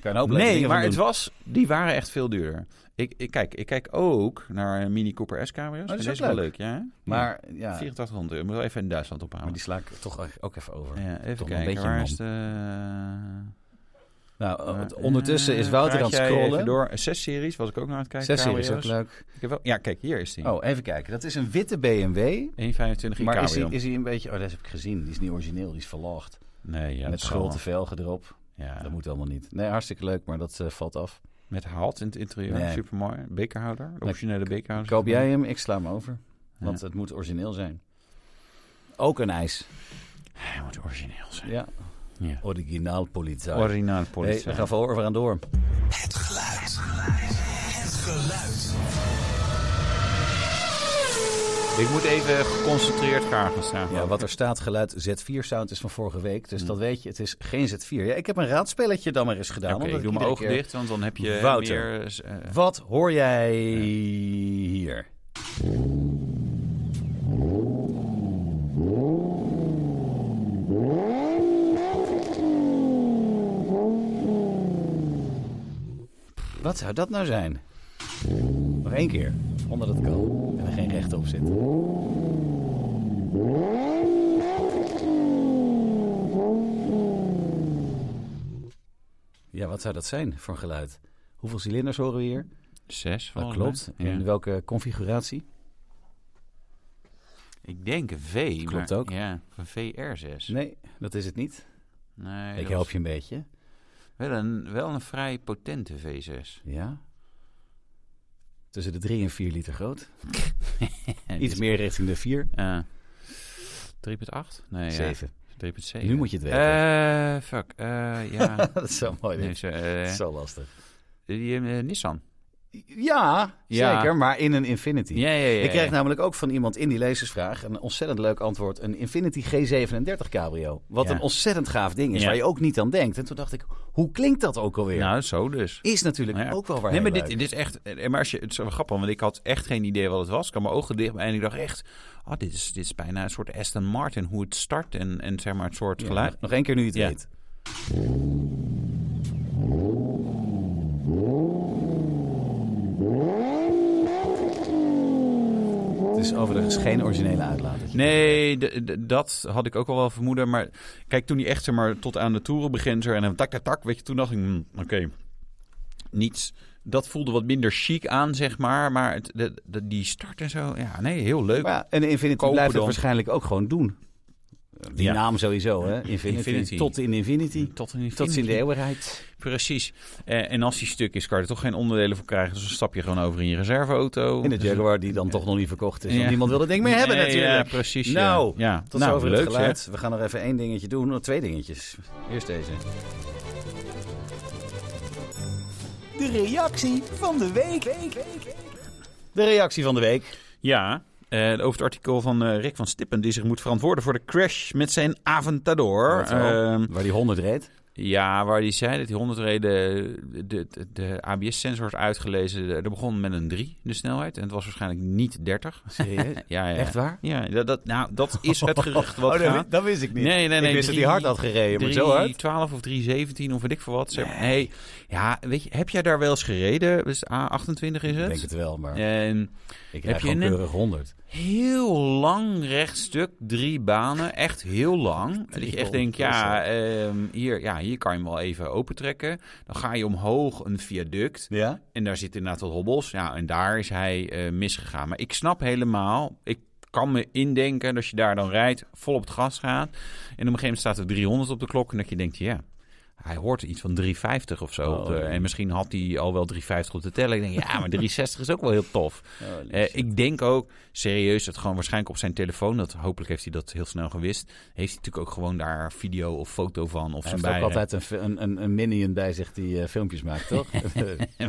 B: kan ook
A: Nee, maar het was, die waren echt veel duurder. Ik, ik, kijk, ik kijk ook naar een Mini Cooper S-cameras.
B: Oh, dat is
A: Deze
B: ook
A: wel
B: leuk.
A: leuk, ja.
B: Maar ja, Nou,
A: 8400 euro. Moet wel even in Duitsland ophalen.
B: maar die sla ik toch ook even over.
A: Ja, even
B: toch een
A: kijken,
B: beetje
A: waar
B: man.
A: is de... Eh,
B: Nou, eh, ondertussen is Wouter
A: Praat
B: aan het
A: jij
B: scrollen.
A: even door. Zes series was ik ook naar aan het kijken.
B: Zes series, ook
A: KWO's.
B: leuk.
A: Ik heb wel- Ja, kijk, hier is die.
B: Oh, even kijken. Dat is een witte BMW.
A: 1,25 in
B: Maar is hij,
A: cabrio.
B: is hij een beetje... Oh, dat heb ik gezien. Die is niet origineel, die is verlaagd.
A: Nee, ja,
B: Met
A: dat zal wel.
B: schulden velgen erop.
A: Ja.
B: Dat moet allemaal niet. Nee, hartstikke leuk, maar dat eh, valt af.
A: Met halt in het interieur.
B: Nee.
A: Supermooi. Bekerhouder. De originele bekerhouder.
B: Koop jij hem, ik sla hem over. Want eh,
A: Ja.
B: het moet origineel zijn. Ook een ijs.
A: Hij moet origineel zijn.
B: Ja.
A: Ja.
B: Originaal politie.
A: Originaal
B: Oh, Nee,
A: politie.
B: we gaan voor, we gaan door.
C: Het geluid. Het geluid.
A: Ik moet even geconcentreerd gaan gaan staan.
B: Ja, wat er staat, geluid Z4-sound is van vorige week.
A: Mm.
B: Dus dat weet je, het is geen Z4. Ja, ik heb een raadspelletje dan maar eens gedaan.
A: Oké,
B: omdat
A: ik doe mijn
B: iedere
A: ogen
B: keer-
A: dicht, want dan heb je
B: Wouter.
A: meer... eh, eh,
B: Wat hoor jij hier? Wat zou dat nou zijn? Nog één keer, onder dat kan. En er geen recht op zit. Ja, wat zou dat zijn voor een geluid? Hoeveel cilinders horen we hier?
A: zes,
B: Dat
A: volgens
B: klopt.
A: mij.
B: En
A: Oh, Ja.
B: welke configuratie?
A: Ik denk een V.
B: Klopt
A: maar-
B: ook.
A: Ja, een VR6.
B: Nee, dat is het niet.
A: Nee,
B: Ik
A: dat
B: help
A: was
B: je een beetje.
A: Wel een, wel een vrij potente V6.
B: Ja. Tussen de 3 en 4 liter groot.
A: En die-
B: Iets
A: eh,
B: meer richting de 4.
A: Ja. 3.8? Nee, ja.
B: 7.
A: 3.7.
B: Nu moet je het weten.
A: Eh, fuck. Eh, ja.
B: dat is zo mooi.
A: nee,
B: dit.
A: ze, eh,
B: Dat is zo lastig.
A: die, eh, Nissan.
B: Ja,
A: Ja.
B: zeker. Maar in een Infinity.
A: Ja, ja, ja.
B: Ik
A: ja.
B: kreeg namelijk ook van iemand in die lezersvraag een ontzettend leuk antwoord. Een Infinity G37 cabrio. Wat
A: Ja.
B: een ontzettend gaaf ding is,
A: Ja.
B: waar je ook niet aan denkt. En toen dacht ik, hoe klinkt dat ook alweer?
A: Nou, zo dus.
B: is natuurlijk
A: Nou ja.
B: ook wel waar
A: Nee, maar
B: heel
A: dit,
B: leuk.
A: dit is echt... eh, Maar als je, het is wel grappig, want ik had echt geen idee wat het was. Ik had mijn ogen dicht en ik dacht echt... Oh, dit is, dit is bijna een soort Aston Martin, hoe het start en, en zeg maar het soort
B: Ja,
A: geluid.
B: nog, nog één keer nu je het
A: Ja.
B: weet. Het is overigens geen originele uitlader.
A: Nee, d- d- dat had ik ook al wel vermoeden. Maar kijk, toen hij echt zeg maar, tot aan de toerenbegrenzer en dan tak, tak, tak, weet je, toen dacht ik, hmm, oké, niets. Dat voelde wat minder chic aan, zeg maar. Maar het, de, de- die start en zo, ja, nee, heel leuk.
B: Maar ja, en Infinity
A: Kopen
B: blijft het
A: dan.
B: waarschijnlijk ook gewoon doen. Die
A: Ja.
B: naam sowieso, hè? Infinity.
A: Infinity.
B: Tot in Infinity.
A: tot in,
B: Tot in de eeuwigheid.
A: Precies. Eh, en als die stuk is, kan je er toch geen onderdelen voor krijgen. Dus dan stap je gewoon over in je reserveauto.
B: In de
A: Dus-
B: Jaguar, die dan toch nog niet verkocht is.
A: Ja.
B: Want niemand wil dat ding meer hebben
A: Nee,
B: natuurlijk.
A: Ja, precies. ja.
B: Nou,
A: ja.
B: Tot
A: nou,
B: zover
A: leuk,
B: het geluid. We gaan nog even één dingetje doen. Oh, twee dingetjes. Eerst deze.
C: De reactie van de week.
B: De reactie van de week.
A: Ja, eh, over het artikel van eh, Rick van Stippen... die zich moet verantwoorden voor de crash met zijn Aventador.
B: Wat wel?
A: Ehm,
B: Waar die 100 reed.
A: ja, waar hij zei dat die 100 reden de, de, de ABS-sensor is uitgelezen. Er begon met een 3, de snelheid. En het was waarschijnlijk niet 30.
B: Serieus?
A: Ja, ja.
B: Echt waar?
A: Ja, dat, dat, nou, dat is het gerucht wat
B: Oh, dat,
A: gaat.
B: wi- dat wist ik niet.
A: Nee, nee, nee.
B: Ik wist dat hij hard had gereden, maar zo hard.
A: 12 of 317 of weet ik veel wat. Nee. nee. Ja, weet je, heb jij daar wel eens gereden? Dus A28 is
B: Ik
A: het.
B: denk het wel, maar
A: En
B: ik
A: Heb
B: heb
A: je
B: gewoon
A: een-
B: keurig 100.
A: heel lang rechtstuk, drie banen, echt heel lang. Dat je echt denkt, ja, ehm, hier, ja, hier kan je hem wel even opentrekken. Dan ga je omhoog een viaduct.
B: Ja?
A: En daar zit inderdaad wat hobbels. Ja, en daar is hij eh, misgegaan. Maar ik snap helemaal. Ik kan me indenken dat als je daar dan rijdt, vol op het gas gaat. En op een gegeven moment staat er 300 op de klok. En dat je denkt, ja, hij hoort iets van 350 of zo.
B: Oh,
A: op de-
B: ja.
A: En misschien had hij al wel 350 op de teller. Ik denk, ja, maar 360 is ook wel heel tof. Eh, ik denk ook, serieus, dat gewoon waarschijnlijk op zijn telefoon. Dat, hopelijk heeft hij dat heel snel gewist. Heeft hij natuurlijk ook gewoon daar video of foto van. Of
B: Hij
A: zijn
B: heeft ook
A: bij.
B: altijd een, fi- een, een, een minion bij zich die eh, filmpjes maakt, toch?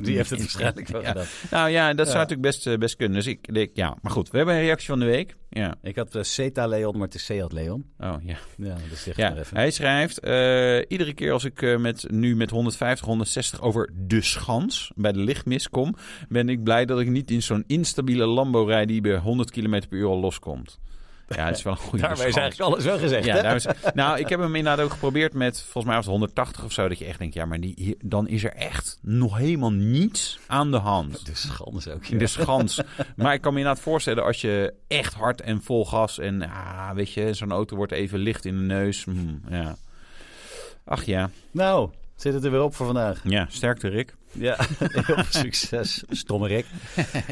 B: die heeft het waarschijnlijk wel
A: Ja.
B: gedaan.
A: Nou ja, dat
B: Ja.
A: zou natuurlijk best, eh, best kunnen. Dus ik denk, ja. Maar goed, we hebben een reactie van de week. Ja.
B: Ik had eh, Zeta Leon, maar het is Seat Leon.
A: Oh ja.
B: Ja, dat zeg ik
A: ja.
B: maar even.
A: Hij schrijft: eh, Iedere keer als ik eh, met, nu met 150, 160 over de schans bij de lichtmis kom, ben ik blij dat ik niet in zo'n instabiele Lambo rijd die bij 100 km per uur al loskomt. Ja, het is wel een goede
B: Daarbij is
A: schans.
B: eigenlijk alles wel gezegd,
A: Ja,
B: hè?
A: daar is- nou, ik heb hem inderdaad ook geprobeerd met volgens mij was het 180 of zo. Dat je echt denkt, ja, maar die, hier- dan is er echt nog helemaal niets aan de hand.
B: De schande is dus ook.
A: In de schans. maar ik kan me inderdaad voorstellen als je echt hard en vol gas en ah, weet je, zo'n auto wordt even licht in de neus. Hmm, ja. Ach ja.
B: Nou, Zit het er weer op voor vandaag?
A: Ja, sterkte Rick.
B: Ja, heel veel succes. Stomme Rick.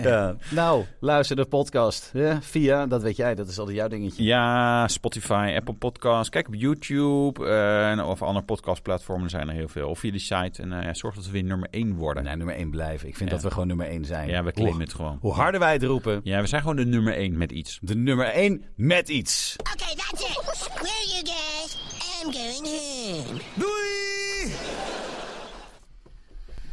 B: Ja. Nou, luister de podcast. Ja, via, dat weet jij, dat is altijd jouw dingetje.
A: Ja, Spotify, Apple Podcasts. Kijk op YouTube eh, en of andere podcastplatformen zijn er heel veel. Of via de site. En eh, ja, zorg dat we weer nummer 1 worden.
B: Nee, nummer 1 blijven. Ik vind
A: Ja.
B: dat we gewoon nummer 1 zijn.
A: Ja, we claimen het gewoon.
B: Hoe harder wij het roepen,
A: Ja, we zijn gewoon de nummer 1 met iets.
B: de nummer 1 met iets.
D: Okay, that's it. Screw you guys. I'm going home.
C: Doei!